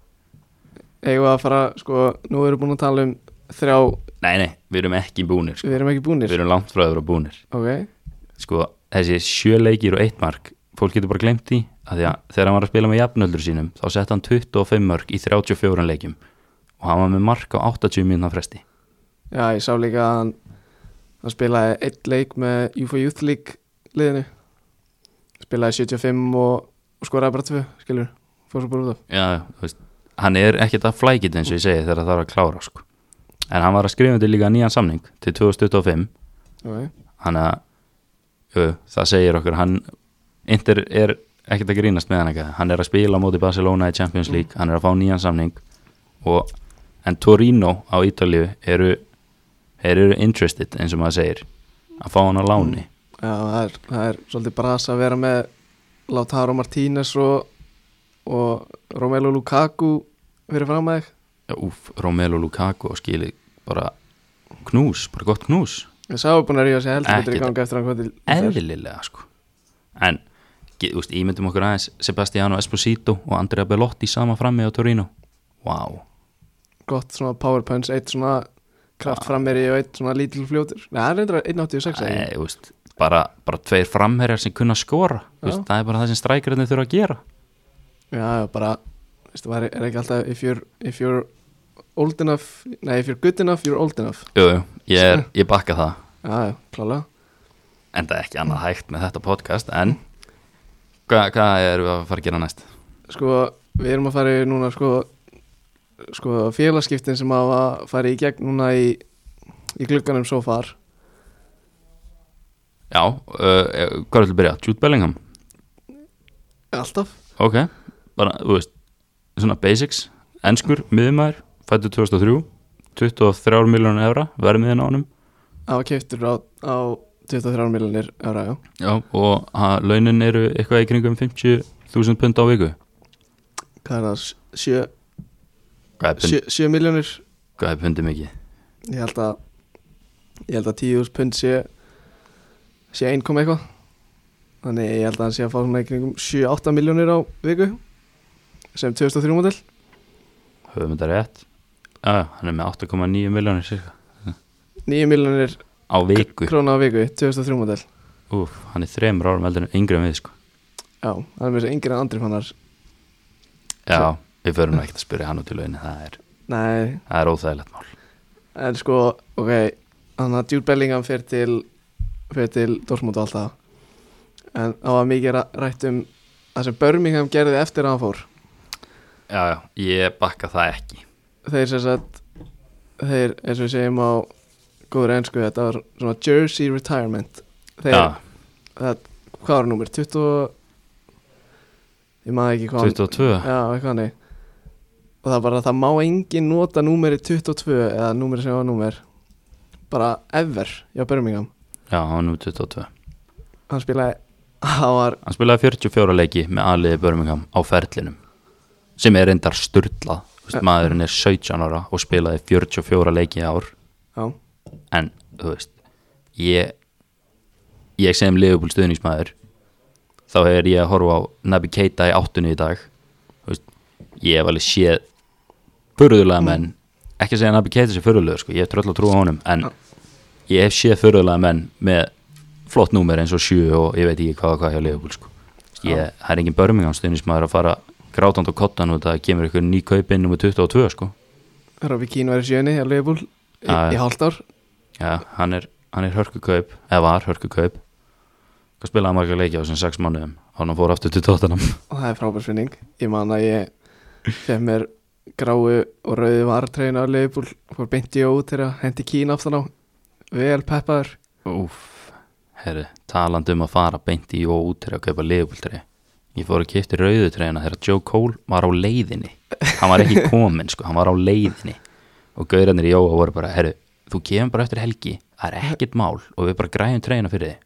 [SPEAKER 1] eigum við að fara, sko, nú erum við búin að tala um þrjá,
[SPEAKER 2] Nei, nei, við erum ekki búnir sko.
[SPEAKER 1] við erum ekki
[SPEAKER 2] Við
[SPEAKER 1] búinir
[SPEAKER 2] erum langt frá að vera búnir
[SPEAKER 1] ok,
[SPEAKER 2] Sko, þessi sjöleikir og eitt mark Fólk getur bara glemt því að því að Þegar hann var að spila með jafnöldur sínum Þá sett hann 25 mörg í 34 leikjum Og hann var með mark á 80 mínúna fresti
[SPEAKER 1] já, ég sá líka að hann, hann spilaði eitt leik með UFO Youth League liðinu spilaði 75 og, og skoraði bara tvö, skilur fór svo bara út af
[SPEAKER 2] Já, þú veist Hann er ekkert að flækit eins og ég segi þegar það er að klára sko. En hann var að skrifa til líka nýjan samning Til 2025
[SPEAKER 1] okay.
[SPEAKER 2] Þannig að jú, það segir okkur hann Inter er ekkert að grínast með hann eitthvað hann er að spila á móti Barcelona í Champions League hann er að fá nýjan samning og, en Torino á Ítalju eru, þeir eru interested eins og maður segir að fá hann á láni
[SPEAKER 1] já, það er, það er svolítið brasa að vera með Lautaro Martínez og, og Romelu Lukaku fyrir fram að þig
[SPEAKER 2] Úf, Romelu Lukaku og skili bara knús, bara gott knús
[SPEAKER 1] ég sá að búin að ríða sér heldur betur í
[SPEAKER 2] Ekkert.
[SPEAKER 1] gangi eftir að hann kom til
[SPEAKER 2] eðlilega sko en ge- þú veist, ímyndum okkur aðeins Sebastiano Esposito og Andrea Bellotti sama frammi á Torino wow,
[SPEAKER 1] gott svona power punch, eitt svona kraft frammeri og eitt svona lítil fljótur Nei, það er reyndra 186 eða
[SPEAKER 2] Nei,
[SPEAKER 1] ekki?
[SPEAKER 2] þú veist, bara, bara tveir framherjar sem kunna skora Þú veist,
[SPEAKER 1] Já.
[SPEAKER 2] það er bara það sem strækirinn þurfa að gera
[SPEAKER 1] Já, já, bara, veistu, maður er ekki alltaf if you're, if you're old enough Nei, if you're good enough, you're old enough
[SPEAKER 2] jú, jú, ég, er, ég bakka það
[SPEAKER 1] Já, já, klálega
[SPEAKER 2] en það er ekki annað hægt með þetta podcast en hvað hva erum við að fara að gera næst?
[SPEAKER 1] Sko, við erum að fara í núna sko, sko félagskiptin sem hafa farið í gegn núna í, í glugganum svo far
[SPEAKER 2] Já, uh, eh, hvað er til að byrja? Jude Bellingham,
[SPEAKER 1] Alltaf
[SPEAKER 2] ok bara, þú veist, svona basics enskur, miðumæður, fættu 2003 23 miljónu evra verðmiðin á honum
[SPEAKER 1] Það var keiftur á, á 23 miljonir ára, já
[SPEAKER 2] Já, og ha, launin eru eitthvað í kringum 50.000 pund á viku
[SPEAKER 1] hvað er það, sjö,
[SPEAKER 2] Hvað er pund-
[SPEAKER 1] sjö, sjö miljónir
[SPEAKER 2] hvað er pundið mikið?
[SPEAKER 1] ég held að ég held að tíu pund sé sé einn koma eitthvað þannig ég held að hann sé að fá svona í kringum 7-8 miljónir á viku sem 2003 model
[SPEAKER 2] Höfum þetta rétt? Já, já, hann er með 8,9 miljónir cirka
[SPEAKER 1] 9 miljónir
[SPEAKER 2] á viku.
[SPEAKER 1] króna á viku 2003 model
[SPEAKER 2] Úf, hann er þremur árum eldur en yngri en við sko.
[SPEAKER 1] já, hann er með þessi yngri en andri fannar
[SPEAKER 2] Já, við förum nú ekkert að spyrja hann út í lauginni, það er,
[SPEAKER 1] nei,
[SPEAKER 2] það er óþægilegt mál.
[SPEAKER 1] en sko ok, hann að Jude Bellingham fyrir til fyrir til Dortmund og alltaf en það var mikið ra- rætt um það sem Birmingham gerði eftir að hann fór
[SPEAKER 2] Já, já, ég bakka það ekki.
[SPEAKER 1] þeir sem sagt þeir eins og við segjum á góður ennsku þetta var svona Jersey Retirement þeir,
[SPEAKER 2] Já,
[SPEAKER 1] það, hvað var númer 20 ég maður ekki hvað
[SPEAKER 2] 22.
[SPEAKER 1] já, eitthvað hannig og það er bara að það má engin nota númeri 22 eða númeri sem var númer bara ever hjá Birmingham
[SPEAKER 2] Já, hann er nú 22.
[SPEAKER 1] hann spilaði hann var,
[SPEAKER 2] Hann spilaði 44 leiki með aðliði Birmingham á ferlinum sem er reyndar sturdlað
[SPEAKER 1] Ja.
[SPEAKER 2] maðurinn er 17 ára og spilaði 44 leiki í ár
[SPEAKER 1] já,
[SPEAKER 2] en þú veist ég, ég sem Liverpool stuðningsmaður þá hefur ég að horfa á Naby Keita í áttunni í dag þú veist, ég hef alveg séð förðulega menn ekki að segja að Naby Keita sé förðulega sko, ég hef tröll að trúa honum en ég hef séð förðulega menn með flott númer eins og 7 og ég veit ekki hvað og hvað hjá Liverpool sko. ég, það er engin börmingan stuðningsmaður að fara grátand og kottan og það kemur ykkur ný kaupin nummer 22 sko
[SPEAKER 1] Robbie Keane var í sjöni hjá Leifbúl í,
[SPEAKER 2] Já, já.
[SPEAKER 1] í hálft ár
[SPEAKER 2] Já, hann er, hann er hörkukaup eða var hörkukaup hvað spilaði hann marga leiki á þessum sex mánuðum og hann fór aftur til tóttanum
[SPEAKER 1] og það er frábær finning ég man að ég fef mér gráu og rauði vartreina á leifbúl fór beinti ég út þegar hendi kín aftan á vel peppaður
[SPEAKER 2] Úf, herri, talandi um að fara beint í og út til að kaupa liðbúltri ég fór að kipta rauðu treyna þegar Joe Cole var á leiðinni hann var ekki kominn, sko, hann var á leiðinni og gaurarnir í Jóa voru bara herri, þú kemur bara eftir helgi, það er ekkert mál og við bara græjum treyna fyrir þig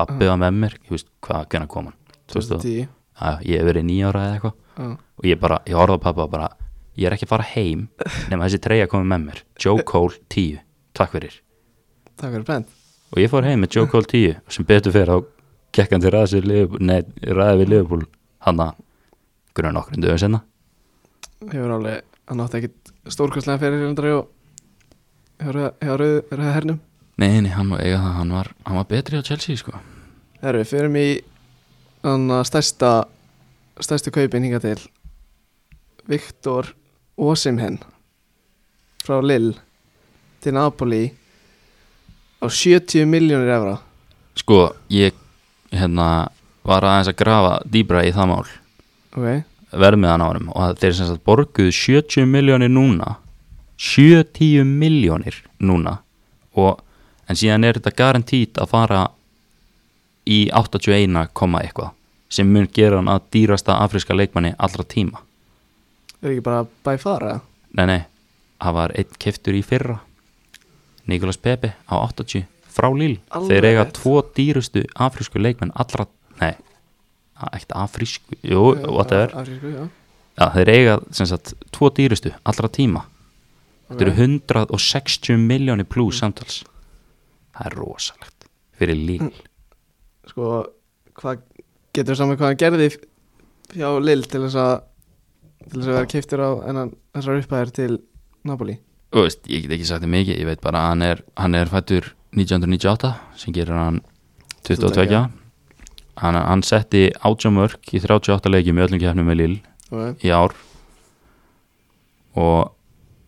[SPEAKER 2] pappið var með mér, ég veist hvað, hvernig kom hann
[SPEAKER 1] 2010
[SPEAKER 2] 2010 Já, ég hef verið nýjára eða eitthvað
[SPEAKER 1] Já.
[SPEAKER 2] og ég bara, ég horfði á pappa og bara ég er ekki að fara heim nema þessi treyja komið með mér Joe Cole 10, takk fyrir
[SPEAKER 1] takk fyrir brent
[SPEAKER 2] og ég fór heim með Joe Cole 10 og sem betur fyrir þá gekk hann til ræða sér Liverpool- nei, ræða við Liverpool hann að grunna nokkur en dögum senna
[SPEAKER 1] hefur alveg, hann átti ekkit stórkostlega fyrir sérundra og hefur rauði hernum
[SPEAKER 2] nei, nei, hann, eiga, það, hann, var, hann var betri á Chelsea sko
[SPEAKER 1] Herru, við förum í þannig að stærsta stærstu kaupin hinga til Viktor Osimhen frá Lill til Napoli á 70 miljónir evra
[SPEAKER 2] sko, ég hérna, var aðeins að grafa dýbra í það mál
[SPEAKER 1] ok,
[SPEAKER 2] verðmiðan á honum og þeir sem sagt borguðu 70 miljónir núna 70 miljónir núna og, en síðan er þetta garantít að fara í 81, komma eitthvað sem mun gera hann að dýrasta afriska leikmanni allra tíma
[SPEAKER 1] er ekki bara by far eða?
[SPEAKER 2] Nei, nei, það var einn keftur í fyrra Nikolas Pepe á 80 frá Líl
[SPEAKER 1] Alveg
[SPEAKER 2] Þeir eiga
[SPEAKER 1] rétt.
[SPEAKER 2] tvo dýrustu afrísku leikmenn allra Nei, ekkert afrísku Jú, whatever
[SPEAKER 1] Afrísku, já.
[SPEAKER 2] Já, þeir eiga sem sagt tvo dýrustu allra tíma Þetta eru 160 miljónir pluss samtals Það er rosalegt fyrir líl
[SPEAKER 1] sko, hvað getur saman hvað hann gerði f- hjá Lill til þess að til þess að vera keiftur á ennan þessar uppæðir til Napoli
[SPEAKER 2] Þú veist, ég get ekki sagt það mikið Ég veit bara að hann er, hann er fættur 1998 sem gerir hann 22 hann, hann setti átjámörk í 38 leikjum í öllum kefnum með líl
[SPEAKER 1] ok,
[SPEAKER 2] í ár og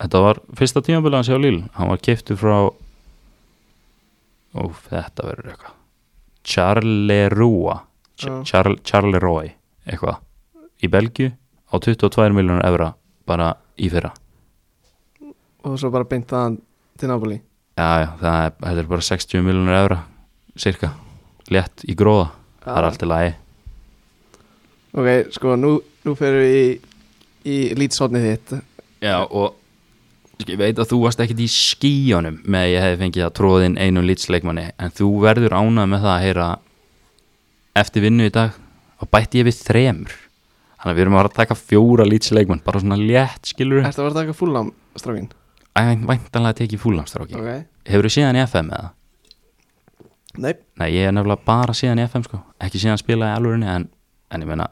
[SPEAKER 2] þetta var fyrsta tímabilið hans hjá Lill hann var keiptur frá óf, þetta verður eitthvað Charleroi
[SPEAKER 1] Já.
[SPEAKER 2] Char Charleroi eitthvað, í Belgju á 22 miljonar evra bara í fyrra
[SPEAKER 1] og svo bara beint þaðan til Napoli
[SPEAKER 2] já, já, það er, þetta er bara 60 miljonar evra cirka, létt í gróða það er
[SPEAKER 1] Já.
[SPEAKER 2] allt í lagi
[SPEAKER 1] Ok, sko, nú, nú fyrir við í, í lítshotnið þitt
[SPEAKER 2] Já og sko, ég veit að þú varst ekkert í skíjónum með að ég hefði fengið að tróðin einum lýtsleikmanni en þú verður ánað með það að heyra eftir vinnu í dag og bætti ég við þremur þannig þannig að við erum að fara að taka fjóra lýtsleikmenn bara svona létt skilur
[SPEAKER 1] Ertu að vera að taka fullam strákin?
[SPEAKER 2] væntanlega að teki fúlamstráki
[SPEAKER 1] Ok
[SPEAKER 2] hefur þú síðan í FM eða?
[SPEAKER 1] Nei
[SPEAKER 2] Nei, ég er nefnilega bara síðan í FM sko ekki síðan spilaði í alvörinni en, en ég meina,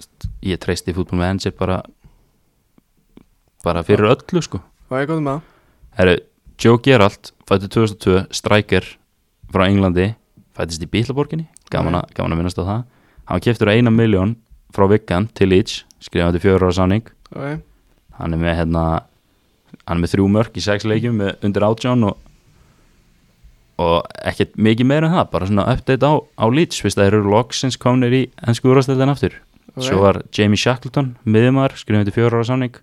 [SPEAKER 2] st- ég treysti fútból með ennsir bara bara fyrir öllu sko
[SPEAKER 1] Hvað er góð með það?
[SPEAKER 2] Herru, Joe Geralt fættu 2002, striker frá Englandi, fættist í Bílaborginni gaman, að- gaman að minnast á það hann keftur eina miljón frá Vikkan til Leeds, skrifaði fjögur ára sáning
[SPEAKER 1] Ok
[SPEAKER 2] hann er með hérna hann er með þrjú mörk í sex leikjum með undir átján og, og ekkert mikið meira en það bara svona update á, á Leeds fyrst að þeir eru loksins komnir í ennsku úrvasteldan aftur
[SPEAKER 1] Ok.
[SPEAKER 2] svo var Jamie Shackleton miðumar, skrifum til fjóra ára samning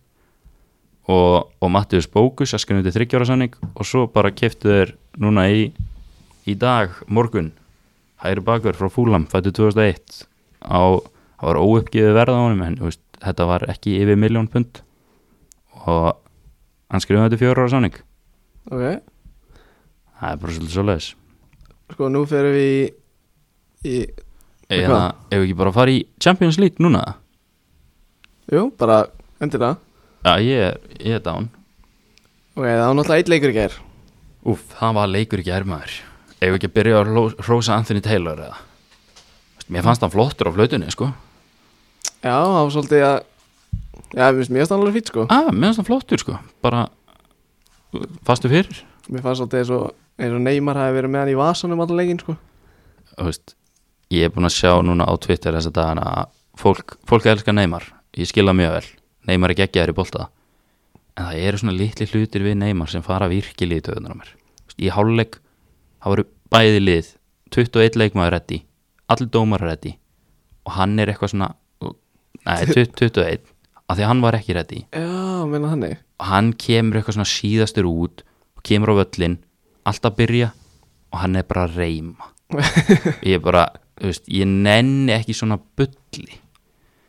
[SPEAKER 2] og, og Mattius Bókus að skrifum til þryggja ára samning og svo bara keftu þeir núna í í dag, morgun hægri bakur frá Fúlam, fættu 2001 á, það var óuppgefið verð á honum en þú veist, þetta var ekki yfir miljón pund og hann skrifaði þetta fjóra ára sáning
[SPEAKER 1] Ok
[SPEAKER 2] það er bara svolítið svo leiðis
[SPEAKER 1] Sko nú fyrir við í, í
[SPEAKER 2] eða ef við ekki bara að fara í Champions League núna
[SPEAKER 1] Jú, bara endilega
[SPEAKER 2] já ég er, ég er down
[SPEAKER 1] Ok, það var náttúrulega eitt leikur í gær
[SPEAKER 2] úf, það var leikur ekki ermaður ef við ekki að byrja að hró- hrósa Anthony Taylor eða Þú veist, mér fannst hann flottur á flautunni sko
[SPEAKER 1] Já, það var svolítið að Já, mér finnst mjög stannlega fýtt sko
[SPEAKER 2] að, mér fannst hann flottur sko bara fastu fyrir
[SPEAKER 1] Mér fannst svolítið eins og, eins og Neymar hafi verið með hann í vasanum allan leikinn sko
[SPEAKER 2] þú veist, ég er búin að sjá núna á Twitter þess að dagana að fólk, fólk elskar Neymar, ég skil það mjög vel Neymar er geggjaður í bolta en það eru svona litli hlutir við Neymar sem fara virkilega í töðunar á mér Þú veist, í hálfleik, það voru bæði lið 21 leikmaður reddi allir dómar reddi og hann er eitthvað svona nei, 21, af því að hann var ekki reddi
[SPEAKER 1] Já, meina þannig
[SPEAKER 2] og hann kemur eitthvað svona síðastur út og kemur á völlin, allt að byrja og hann er bara að reyma ég er bara, þú veist, ég nenni ekki svona bulli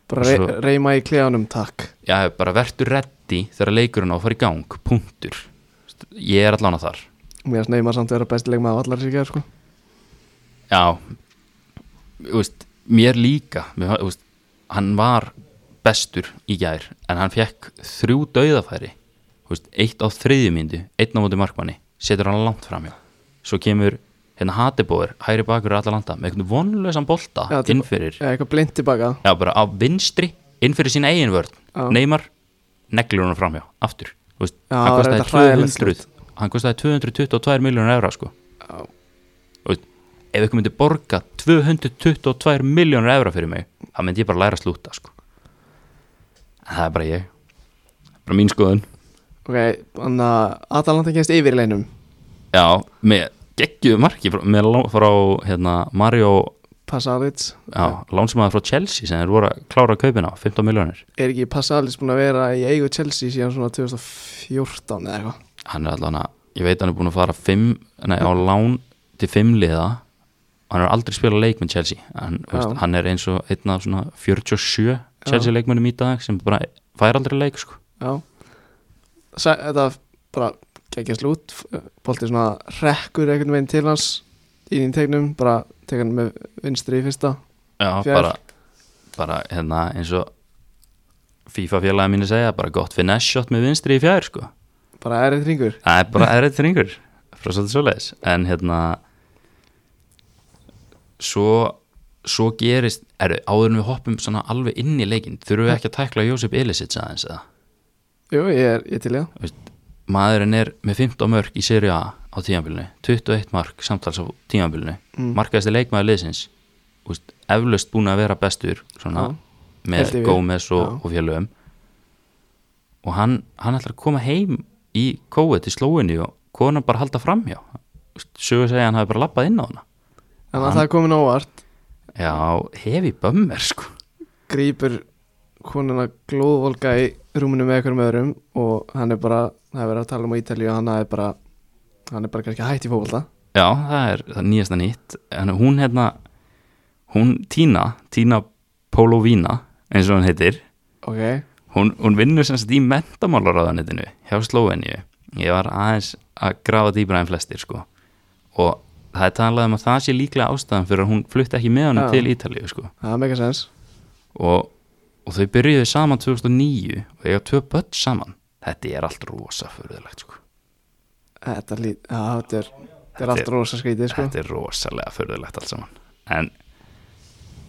[SPEAKER 1] Bara re
[SPEAKER 2] Svo-
[SPEAKER 1] reyma í klefanum, takk
[SPEAKER 2] já, bara verður reddi þegar leikurinn á að fara í gang, punktur Þú veist, ég er allan að þar
[SPEAKER 1] Mér finnst Neymar samt vera besti leikmaður allar sér gær sko
[SPEAKER 2] já, þú veist mér líka, mér, þú veist hann var bestur í gær en hann fekk þrjú dauðafæri þú veist, eitt á þriðju myndu einn á móti markmanni, setur hann langt framhjá svo kemur hérna Hatibóður hæri bakur er allar landa með einhvern vonlösan
[SPEAKER 1] Já,
[SPEAKER 2] bolta
[SPEAKER 1] þetta er bara-
[SPEAKER 2] innfyrir
[SPEAKER 1] Eða eitthvað blind tilbaka
[SPEAKER 2] Já, bara á vinstri, inn fyrir sína eigin vörn
[SPEAKER 1] Já.
[SPEAKER 2] Neymar, neglur hann framhjá aftur, þú veist,
[SPEAKER 1] Já,
[SPEAKER 2] hann
[SPEAKER 1] það er
[SPEAKER 2] kostaði
[SPEAKER 1] þetta hræðilegt
[SPEAKER 2] 200 hann kostaði 222 miljónur evra, sko
[SPEAKER 1] Já.
[SPEAKER 2] Þú veist, ef ykkur myndi borga 222 miljónur evra fyrir mig það myndi ég bara læra að slúta, sko en það er bara ég bara mín skoðun
[SPEAKER 1] Ok, þannig að Atalanta kemst yfir í leinum
[SPEAKER 2] já, með geggjuðu marki frá, með lá- frá, hérna, Mario
[SPEAKER 1] Pasalic
[SPEAKER 2] já, lánsmaður frá Chelsea sem þeir voru að klára kaupina á 15 miljónur
[SPEAKER 1] Er ekki Pasalic búin að vera í eigu Chelsea síðan svona 2014 eða eitthvað
[SPEAKER 2] hann er allan að, ég veit hann er búin að fara fimm, nei, á lán til fimm liða hann er aldrei spilað leik með Chelsea hann, þú veist,
[SPEAKER 1] Já.
[SPEAKER 2] hann er eins og einn af svona 47 Chelsea leikmönnum í dag sem bara fær aldrei leik sko.
[SPEAKER 1] Já Sæ, Þetta bara geggjast lút Boltið svona rekkur einhvern veginn til hans í þín tegnum bara tek hann með vinstri í fyrsta
[SPEAKER 2] Já,
[SPEAKER 1] Fjær.
[SPEAKER 2] bara, bara hérna, eins og FIFA félagi mínu segja bara gott finesse shot með vinstri í fjær sko.
[SPEAKER 1] bara er eitt ringur
[SPEAKER 2] það er bara errið þringur frá svolítið svoleiðis en hérna svo, svo gerist er, áður en við hoppum svona alveg inn í leikinn þurfum við ekki að tækla Jósef Elisits aðeins eða
[SPEAKER 1] Jú, ég er ég er til í það
[SPEAKER 2] maðurinn er með 15 mörg í Serie A á tímanbílinu, 21 mark samtals á tímanbílinu,
[SPEAKER 1] Mm.
[SPEAKER 2] markaðasti leikmaður liðsins, Úst, eflaust búin að vera bestur svona,
[SPEAKER 1] Já.
[SPEAKER 2] með
[SPEAKER 1] Held yfir.
[SPEAKER 2] Gómez og,
[SPEAKER 1] Já.
[SPEAKER 2] og félögum og hann, hann ætlar að koma heim í kóið til slóinni og konan bara halda framhjá Úst, sögur segja að hann hafi bara lappað inn á hana
[SPEAKER 1] En að það er komin ávart
[SPEAKER 2] já, hefi bömmir sko
[SPEAKER 1] grýpur konuna glóðvolga í rúminu með einhverjum öðrum og hann er bara, það er verið að tala um á Ítalíu og hann er bara, hann er bara kannski hætt í fókvölda
[SPEAKER 2] Já, það er það er nýjasta nýtt en hún hérna hún Tína, Tína Pólovína eins og hann heitir
[SPEAKER 1] Ok,
[SPEAKER 2] hún, hún vinnur sem sagt í mentamálaráðanitinu hjá Slóveníu ég var aðeins að grafa dýbra en flestir sko og það er talað um að það sé líklega ástæðan fyrir að hún flutti ekki með honum
[SPEAKER 1] Já.
[SPEAKER 2] til Ítalíu sko
[SPEAKER 1] það er mega sens
[SPEAKER 2] og og þau byrjuðu saman 2009 og eiga tvö börn saman þetta er allt rosa förðulegt sko.
[SPEAKER 1] Þetta lít, já, þetta er, þetta er
[SPEAKER 2] Þetta
[SPEAKER 1] allt
[SPEAKER 2] er-
[SPEAKER 1] rosa skrítið, sko.
[SPEAKER 2] þetta er rosalega förðulegt allt saman en,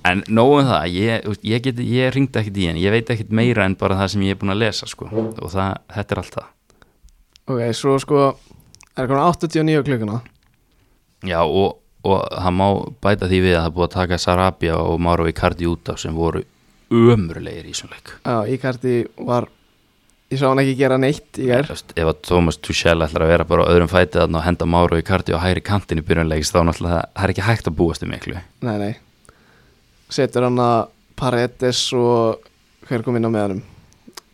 [SPEAKER 2] en nóg um það ég, þú veist, ég, get, ég ringdi ekkit í henni ég veit ekkit meira en bara það sem ég er búin að lesa sko. og það, þetta er allt það
[SPEAKER 1] Ok, svo sko, er komin 89 klukkuna.
[SPEAKER 2] Já og, og það má bæta því við að það er búið að taka Sarabia og Mauro Icardi út af sem voru ömurlegir í þessum leik
[SPEAKER 1] Já, Íkardi var, ég sá hann ekki gera neitt í gær.
[SPEAKER 2] Þú veist, Ef að Thomas Tuchel ætlar að vera bara á öðrum fætið þarna og henda Mauro Icardi á hægri kantin í byrjunleikis þá náttúrulega það er ekki hægt að búast um miklu
[SPEAKER 1] Nei, nei. Setur hann að Paredes og hver kom inn á meðanum?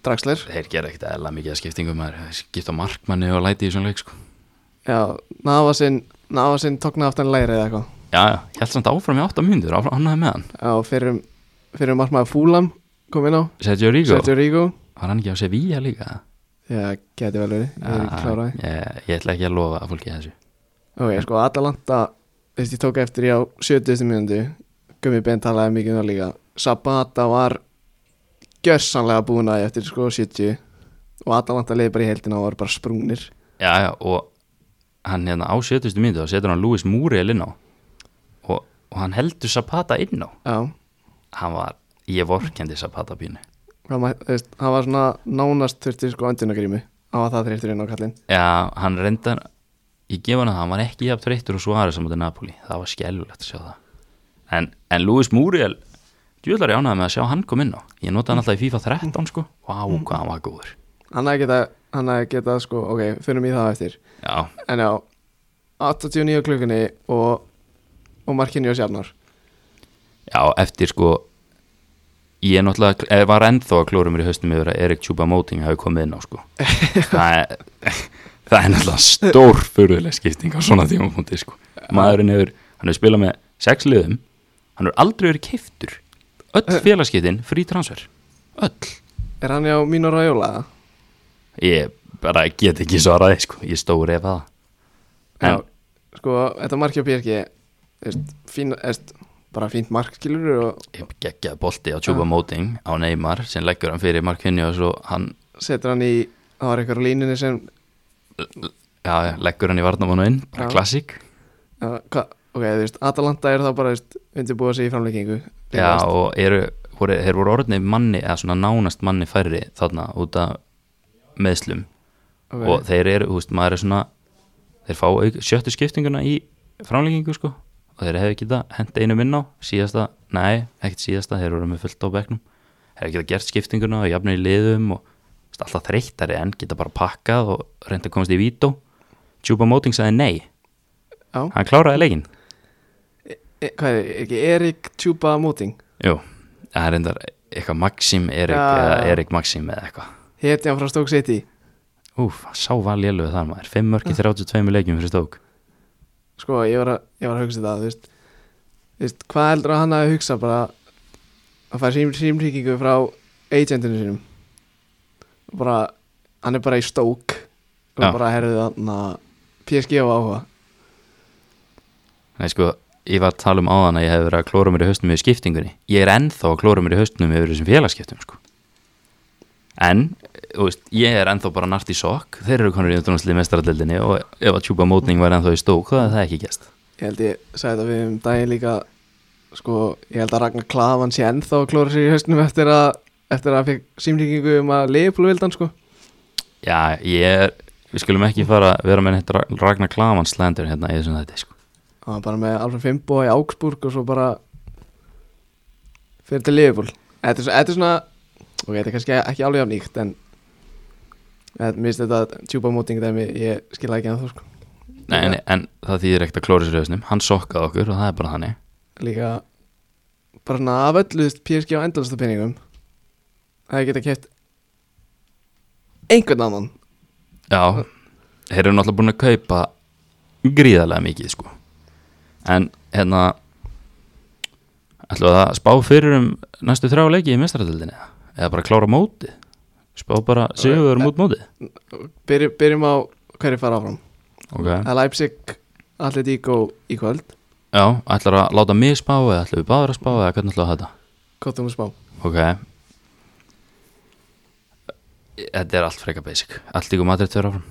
[SPEAKER 1] Draxler?
[SPEAKER 2] Þeir gera ekkit eðla mikið að skiptingum maður skipta á markmanni og læti í þessum leik sko
[SPEAKER 1] Já, Navasinn, Navasinn tókna aftan læri eða eitthvað.
[SPEAKER 2] Já, já, ég held samt áfram í 8 mínútur, áfram annaði með hann
[SPEAKER 1] Já, fyrir, fyrir margmaður Fúlam kom inn á.
[SPEAKER 2] Sergio Rigo,
[SPEAKER 1] Sergio Rigo.
[SPEAKER 2] var hann ekki á Sevilla líka?
[SPEAKER 1] Já, geti vel verið, ég er ekki
[SPEAKER 2] Ah.
[SPEAKER 1] klárað því.
[SPEAKER 2] ég, ég ætla ekki að lofa að fólki þessu
[SPEAKER 1] Ok, sko, Atalanta, veist, ég tók eftir ég á 70. mínúndu, Gummi Ben talaði mikið um það líka. Sabata var gjörsanlega búin að eftir sko 70 og Atalanta leiði bara í heldina og var bara sprungnir.
[SPEAKER 2] já, já, og hann hérna á 70. mínútu þá setur hann Lewis Muriel inn á og, og hann heldur Zapata inn á
[SPEAKER 1] Já,
[SPEAKER 2] hann var, ég vorkendi Zapata pínu
[SPEAKER 1] hvað maður, þú veist, hann var svona nánast þurfti sko öndunagrímu. Hann var það þurftur inn á kallinn.
[SPEAKER 2] já, hann reyndar ég gef hann að það, hann var ekki jafn treyttur og svara saman til Napoli, það var skelvilegt að sjá það en, en Lewis Muriel djúðlar ég ánæði með að sjá hann kom inn á ég nota hann alltaf í FIFA 13 sko vá, hvað hann var góður
[SPEAKER 1] Hann hafði getað, hann hafði getað sko, ok, fyrir mig það á eftir.
[SPEAKER 2] já,
[SPEAKER 1] En já, 89 klukkunni og, og markinu og sjarnar.
[SPEAKER 2] Já, eftir sko ég náttúrulega eh, var ennþá að klóra mér í haustum yfir að Erik Tjúba Móting hafi komið inn á sko það, er, það er náttúrulega stór fyrirlega skipting á svona tímapunkti sko maðurinn hefur, hann hefur spilað með sex liðum, hann hefur aldrei verið keiftur öll félagskiptin frí transfer, öll
[SPEAKER 1] Er hann hjá mínu ræjóla?
[SPEAKER 2] ég bara get ekki svaraði sko, ég stóri ef það
[SPEAKER 1] Já,
[SPEAKER 2] en,
[SPEAKER 1] sko, þetta markið á PSG, veist, fín, veist, bara fínt mark, skilur og
[SPEAKER 2] ég geggjaði bolti á Tjúba Móting á Neymar sem leggur hann fyrir Markinni og svo hann
[SPEAKER 1] setur hann í, það var eitthvað á línunni sem,
[SPEAKER 2] já, já, leggur hann í varnamánu inn, bara
[SPEAKER 1] Já.
[SPEAKER 2] klassík
[SPEAKER 1] já, hva, ok, þú veist, Atalanta er þá bara, veist, undirbúið sig í framleikingu.
[SPEAKER 2] Já, og eru, voru, þeir voru orðnið manni, eða svona nánast manni færri þarna út af meðslum
[SPEAKER 1] Ok.
[SPEAKER 2] og þeir eru, þú veist, maður er svona þeir fá auk, sjöttu skiptinguna í framlengingu, sko og þeir hefðu geta hent einum inn á síðasta, nei, ekkert síðasta, þeir voru með fullt á bekknum þeir hefðu geta gert skiptinguna og jafnir í liðum og þú veist, alltaf þreyttari en geta bara pakkað og reynda að komast í vító Tjúpa Móting sagði nei,
[SPEAKER 1] Já,
[SPEAKER 2] hann kláraði leikinn
[SPEAKER 1] e, hvað er, ekki Erik Tjúpa Móting?
[SPEAKER 2] Jú, það er reyndar eitthvað Maxim Erik
[SPEAKER 1] Já.
[SPEAKER 2] eða Erik Maxim eða eitthvað
[SPEAKER 1] Heti hann frá Stoke City?
[SPEAKER 2] Úf, sá var lélugu þar maður 5 mörki 32 leikjum fyrir stók
[SPEAKER 1] sko, ég var, að, ég var að hugsa þetta þú veist, þú veist, hvað heldur að hann hafi hugsa bara að fara símtryggingu frá agentinu sínum Og bara, hann er bara í stók og
[SPEAKER 2] Já.
[SPEAKER 1] bara herðið hann að PSG á áhuga
[SPEAKER 2] Nei sko, ég var að tala um áðan að ég hef verið að klóra mér í haustnum yfir skiptingunni Ég er ennþá að klóra mér í haustnum yfir þessum félagskiptum sko En, þú veist, ég er ennþá bara nart í sokk Þeir eru konur í undanúslið mestaraldeldinni og ef að tjúpa mótning var ennþá í stók þá er það ekki gæst
[SPEAKER 1] ég held ég sagði þetta við um daginn líka sko, ég held að Ragnar Klavan sé ennþá að klóra sér í hausnum eftir að eftir að hann fekk símtryggingu um að Leopold vildan sko
[SPEAKER 2] Já, ég er, við skulum ekki fara að vera með neitt Ra- Ragnar Klavan slendur hérna í þessum þetta sko
[SPEAKER 1] og hann bara með Alfred Fimbo í Augsburg og svo bara fyrir til Liverpool þetta er, svo- þetta er svona ok, þetta er kannski ekki alveg af nýtt en en mér finnst þetta tjúpa móting dæmi, ég skila ekki að þú sko
[SPEAKER 2] Nei, nei, en það þýðir ekkert að klóra sér í hausnum Hann sokkaði okkur og það er bara þannig
[SPEAKER 1] líka bara svona af öllu þú veist, PSG á endalasta peningum það geta keft einhvern annan
[SPEAKER 2] Já, þeir eru náttúrulega búin að kaupa gríðarlega mikið sko En hérna ætlum við að spá fyrir um næstu þrjá leiki í mestaradöldinni eða bara klára mótið Spá bara sigur mút mótið
[SPEAKER 1] Byrj, byrjum á hverju fara áfram
[SPEAKER 2] okay.
[SPEAKER 1] það er Leipzig, Atletico í kvöld
[SPEAKER 2] Já, ætlar að láta mig spá eða ætlum við báður að spá eða hvernig ætlum við að hafa þetta
[SPEAKER 1] hvað þú mér spá
[SPEAKER 2] Ok, þetta er allt freka basic allt ykkur Madrid fyrir áfram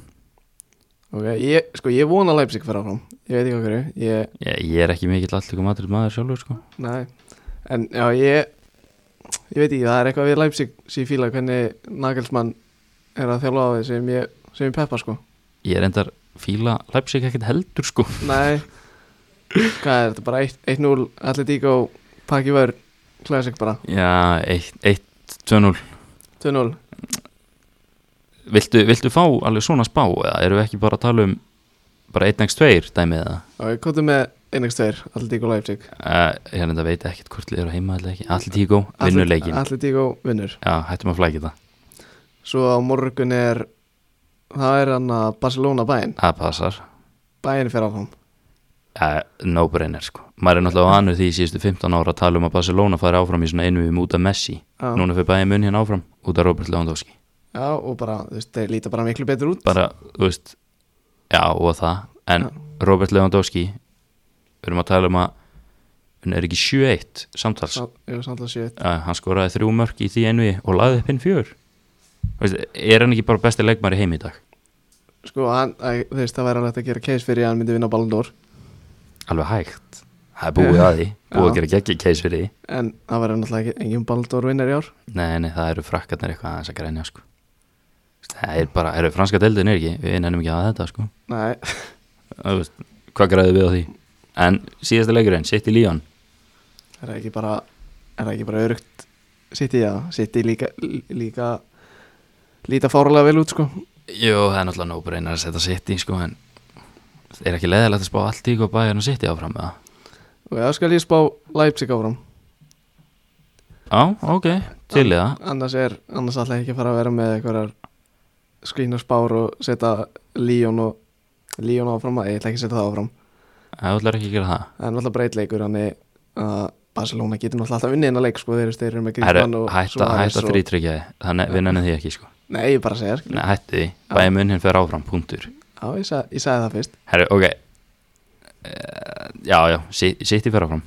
[SPEAKER 1] Ok, ég, sko, ég vona að Leipzig fara áfram Ég veit ekki okkur, ég,
[SPEAKER 2] ég, ég er ekki mikill allt ykkur Madrid maður sjálfur sko.
[SPEAKER 1] næ En já, ég, ég veit ekki, það er eitthvað við Leipzig sem ég fíla hvernig Nagelsmann er að þjálfa á því sem ég, sem ég peppa, sko
[SPEAKER 2] ég er endar fíla Leipzig ekkert heldur sko.
[SPEAKER 1] Nei, hvað er þetta, bara 1 1-0, allir dík og pakki vör, classic bara,
[SPEAKER 2] já, 1-2-0
[SPEAKER 1] 2-0
[SPEAKER 2] viltu, viltu fá alveg svona spá eða erum við ekki bara að tala um bara 1x2 dæmið eða
[SPEAKER 1] Ok, komdu með 1x2, allir dík og Leipzig
[SPEAKER 2] Uh, ég er enda að veit ekkert hvort liður á heima eða ekki Allir tíkó, vinnur leikin
[SPEAKER 1] Allir dík og vinnur
[SPEAKER 2] Já, hættum að flækja það
[SPEAKER 1] Svo á morgun er, það er hann að Barcelona bæinn
[SPEAKER 2] Það passar
[SPEAKER 1] Bæinn fer áfram
[SPEAKER 2] uh, No brainer sko Maður er náttúrulega vanur því í síðustu 15 ára að tala um að Barcelona fari áfram í svona einu um út af Messi
[SPEAKER 1] Já.
[SPEAKER 2] Núna fyrir bæði munn hérna áfram út af Robert Lewandowski
[SPEAKER 1] Já, og bara, þú veist, þeir líta bara miklu betur út
[SPEAKER 2] Bara, þú veist Já, og það En Robert Lewandowski Við erum að tala um að Hún er ekki 7-1 samtals Já,
[SPEAKER 1] Sá- Já, samtla sjö
[SPEAKER 2] Hann skoraði þrjú mörk í því einu og laði upp inn fjör Veist, er hann ekki bara besti leikmar í heim í dag?
[SPEAKER 1] Sko, hann, æ, þú veist, það væri alveg hægt að gera case fyrir að hann myndi vinna Ballon d'Or
[SPEAKER 2] alveg hægt það er búið að því, búið að
[SPEAKER 1] Já.
[SPEAKER 2] gera geggja case fyrir því
[SPEAKER 1] En það væri náttúrulega ekki engin Ballon d'Or vinnar í ár
[SPEAKER 2] nei, nei, það eru frakkarnir eitthvað aðeins að grænja sko. það er bara, eru franska deildin er ekki við nefnum ekki að þetta sko.
[SPEAKER 1] Nei,
[SPEAKER 2] Þú veist, hvað græðum við á því en síðasta leikurinn, sitt í Líón
[SPEAKER 1] er það ekki bara, er það ekki bara örugt Sitt í það, sitt í líka, líka Líta fárulega vel út, sko
[SPEAKER 2] jú, það er náttúrulega nóg reynar að setja sitt í sko, en er ekki leðilegt að spá allt í hvað bæjarna sitt í áfram eða?
[SPEAKER 1] Og það skal ég spá Leipzig áfram
[SPEAKER 2] já, ok, til í það
[SPEAKER 1] Annars er, annars alltaf ekki að fara að vera með einhverjar Skrínarspár og setja Líón og Líón áfram, Nei, ég ætla ekki að setja það áfram
[SPEAKER 2] það ætlar ekki að gera það
[SPEAKER 1] Það er náttúrulega breytleikur Þannig að Barcelona getur náttúrulega alltaf unnið hennar leik sko, þeir, þeir eru með Griezmann
[SPEAKER 2] Herru,
[SPEAKER 1] og
[SPEAKER 2] hætta,
[SPEAKER 1] Suárez
[SPEAKER 2] hætta
[SPEAKER 1] og-
[SPEAKER 2] þrítryggjaði, þannig við nefnum því ekki sko.
[SPEAKER 1] Nei, ég bara segja
[SPEAKER 2] Nei, hætti því, bæði munn fer áfram, punktur
[SPEAKER 1] Já, ég, sag, ég sagði það fyrst
[SPEAKER 2] Herru, ok uh, Já, já, sitt í fyrir áfram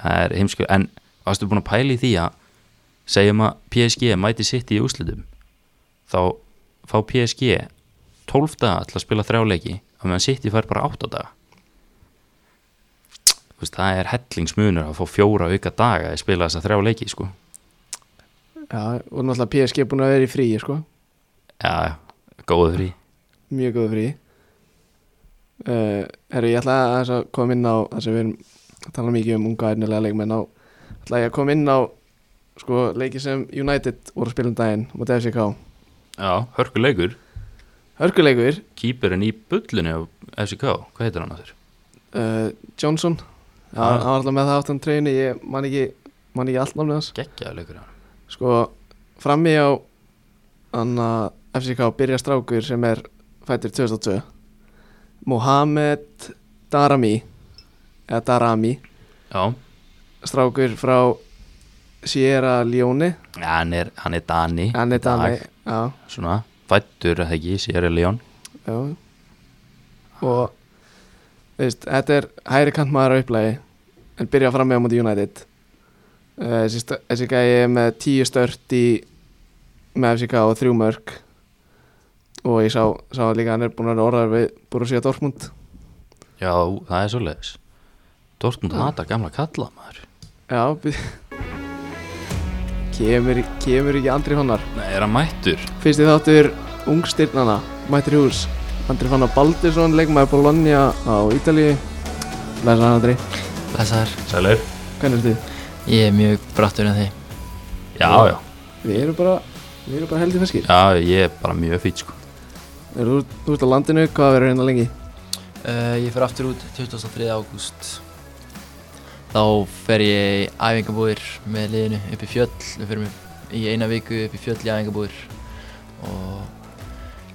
[SPEAKER 2] Það er heimsku En varstu búin að pæla í því að segjum að PSG mæti sitt í úslitum þá fá PSG 12 daga til að spila þrjáleiki og meðan sitt í fær bara 8 daga Þú veist, það er hellingsmunur að fá fjóra auka daga að spila þessa þrjáleiki sko.
[SPEAKER 1] Já, og náttúrulega PSG er búin að vera í fríi sko
[SPEAKER 2] Já, já, góðu frí
[SPEAKER 1] Mjög góðu fríi uh, Herru, ég ætla aðeins að koma inn á Það sem við erum að tala mikið um unga ernilega leikmenn á ætla ég að koma inn á sko, leiki sem United voru að spila um daginn mútið FCK
[SPEAKER 2] Já, hörkuleikur
[SPEAKER 1] Hörkuleikur,
[SPEAKER 2] Kýperinn í bullunni á FCK, hvað heitir hann á þér?
[SPEAKER 1] uh, Johnson Já, hann
[SPEAKER 2] Ah.
[SPEAKER 1] var alltaf með það aftan treyni Ég man ekki, man ekki allt námið hans
[SPEAKER 2] Gekkjaðu leikur hann
[SPEAKER 1] Sko, frammi á hann að FCK byrja strákur sem er fættur 2002 Mohamed Darami eða Darami
[SPEAKER 2] Já,
[SPEAKER 1] strákur frá Sierra Leone
[SPEAKER 2] Ja, hann er, hann er Dani
[SPEAKER 1] hann er
[SPEAKER 2] í dag,
[SPEAKER 1] Dani já,
[SPEAKER 2] Svona, fættur að ekki, Sierra Leone
[SPEAKER 1] já. og þú veist, þetta er hæri kantmaður á upplægi en byrja frammi á múti United Eh, þessi st- þessi gæi er með tíu stört í með FCK og þrjú mörg og ég sá, sá líka að hann er búin að vera orðar við Borussia Dortmund
[SPEAKER 2] Já, það er svoleiðis Dortmund hatar gamla kalla maður
[SPEAKER 1] já bý- kemur, kemur ekki Andri Fannar
[SPEAKER 2] Nei, er hann mættur?
[SPEAKER 1] fyrst ég þáttur ungstyrnana mættir í hús Andri Fannar Baldursson leikmaður Bologna á Ítalíu læsa hann Andri,
[SPEAKER 3] Blessaður,
[SPEAKER 2] Sælur?
[SPEAKER 1] hvernig er
[SPEAKER 3] ég er mjög brattur en þið.
[SPEAKER 2] Já, já,
[SPEAKER 1] við erum bara við erum bara heldur feskir
[SPEAKER 2] já, ég er bara mjög fýt sko
[SPEAKER 1] þú þú ert á landinu, hvað verður hérna lengi
[SPEAKER 3] Uh, ég fer aftur út 23. ágúst. Þá fer ég í æfingabúðir með liðinu upp í fjöll. Við ferum upp í eina viku upp í fjöll í æfingabúðir og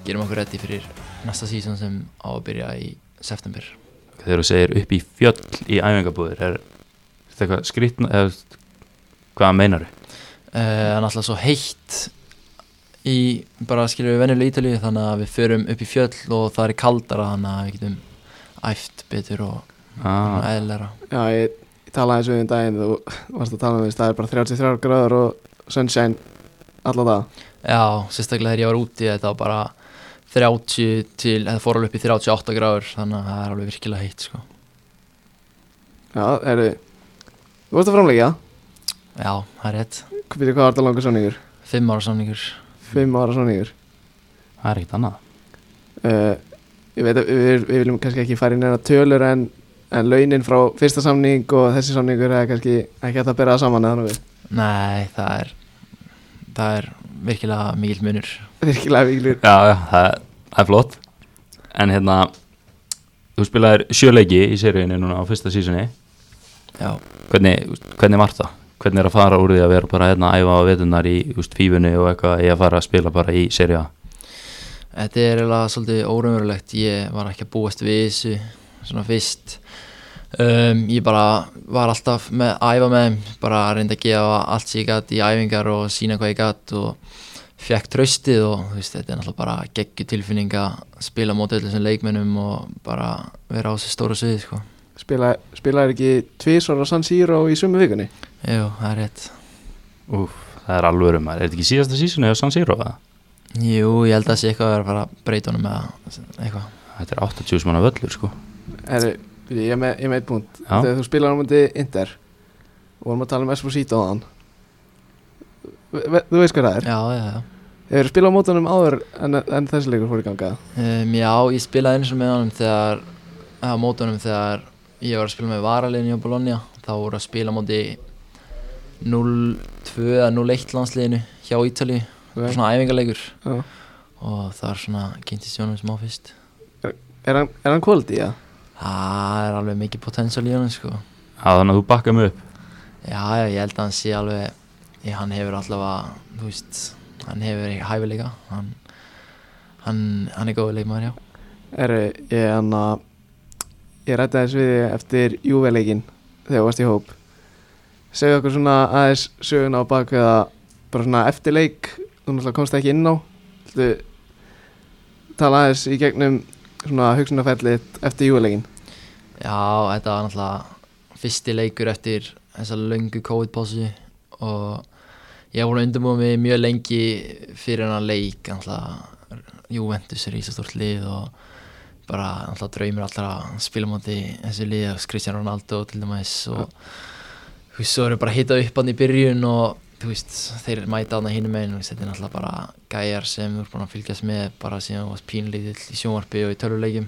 [SPEAKER 3] gerum okkur reddi fyrir næsta sísón sem á að byrja í september.
[SPEAKER 2] Þegar þú segir upp í fjöll í æfingabúðir Er þetta eitthvað skrýtn eða, veist, Hvað meinar þú?
[SPEAKER 3] Eh, Það er náttúrulega svo heitt í bara skilur við venjulega Ítalíu þannig að við förum upp í fjöll og það er kaldara þannig að við getum æft betur og
[SPEAKER 2] Ah,
[SPEAKER 3] eðlera.
[SPEAKER 1] já, ég, ég talaði þessu um daginn þú varst að tala um þess, það er bara 33 gráður og sunshine alla það
[SPEAKER 3] Já, sérstaklega þegar ég var úti þetta var bara 30 til, þetta fór alveg upp í 38 gráður þannig að það er alveg virkilega heitt sko.
[SPEAKER 1] Já, herru Þú vorst að framleggja
[SPEAKER 3] Já, það er rétt
[SPEAKER 1] Hvað býtu hvað var þetta langur sáningur?
[SPEAKER 3] Fimm ára samningur
[SPEAKER 1] Fimm ára sáningur
[SPEAKER 2] það er ekkert annað
[SPEAKER 1] uh, Ég veit að við, við viljum kannski ekki fara inn enna tölur en, en launin frá fyrsta samning og þessi samningur er kannski ekki hægt að bera það saman eða þannig
[SPEAKER 3] Nei, það er það er virkilega mikill munur
[SPEAKER 1] við Virkilega viklur
[SPEAKER 2] Já, já, það, það er flott En hérna Þú spilaðir sjöleiki í seríunni núna á fyrsta sísunni
[SPEAKER 3] Já,
[SPEAKER 2] hvernig, þú veist, hvernig var það? Hvernig er að fara úr því að vera bara hérna að æfa á vetunar í þú veist, fífunni og eitthvað í að fara að spila bara í seríu A?
[SPEAKER 3] þetta er eiginlega svolítið óraunverulegt ég var ekki að búast við þessu svona fyrst um, ég bara var alltaf með að æfa með þeim, bara reyndi að gefa allt sem ég gætt í æfingar og sína hvað ég gætt og fekk tröstið og þú veist, þetta er náttúrulega bara geggju tilfinning að spila á móti öllum sem leikmennum og bara vera á þessu stóra sviði sko.
[SPEAKER 1] Spila, spilaðir ekki tvisvar á San Siro í sumu vikunni?
[SPEAKER 3] Jú, það er rétt
[SPEAKER 2] Úf, það er alvöru maður, er þetta ekki síðasta sísunni á San Siro? eða?
[SPEAKER 3] Jú, ég held að það sé eitthvað að vera að fara að breyta honum eða eitthvað
[SPEAKER 2] Þetta er 80 manna völlur sko
[SPEAKER 1] Herru, byrju, ég er með, ég er með eitt punkt
[SPEAKER 2] Já.
[SPEAKER 1] Þegar þú spilaði á myndi Inter og vorum að tala um Esposito á hann Þú veist hvað það er
[SPEAKER 3] Já, já, já
[SPEAKER 1] Hefur spilað á mótunum áður en, en þessi leikur fór í ganga
[SPEAKER 3] Um, já, ég spilaði eins og með honum þegar á mótunum þegar ég var að spila með varaliðinu hjá Bologna þá voru að spila á móti 0-2 eða 0-1 landsliðinu hjá Ítali,
[SPEAKER 1] Ok.
[SPEAKER 3] svona æfingarleikur
[SPEAKER 1] Já.
[SPEAKER 3] og það er svona kynntist Jónum smá fyrst
[SPEAKER 1] Er hann, er hann kvöldi, já?
[SPEAKER 3] Það er alveg mikið potential í honum sko
[SPEAKER 2] Já, þannig að þú bakka mig upp
[SPEAKER 3] Já, já, ég held að hann sé alveg ég, hann hefur allavega, þú veist hann hefur hæfileika hann, hann, hann er góður leikmaður, já
[SPEAKER 1] Herru, ég hann að ég rætti aðeins við þig eftir júveleikin þegar þú varst í hóp Segðu okkur svona aðeins söguna á bak eða bara svona eftir leik þú náttúrulega komst ekki inn á Þú tala aðeins í gegnum svona hugsunarferðlit eftir júveleikin
[SPEAKER 3] Já, þetta var náttúrulega fyrsti leikur eftir þessa löngu COVID-pásu og ég hef búin að undirbúið mig mjög lengi fyrir hennar leik náttúrulega Juventus er ísastort lið og bara náttúrulega draumir allra að spila mátti þessu lið og Cristiano Ronaldo til dæmis og þú veist, svo erum við bara að hita upp hann í byrjun og þú veist, þeir mæta hann að hinum einu þetta er náttúrulega bara gæjar sem þú er búin að fylgjast með bara síðan þú varst pínlítill í sjónvarpi og í töluleikjum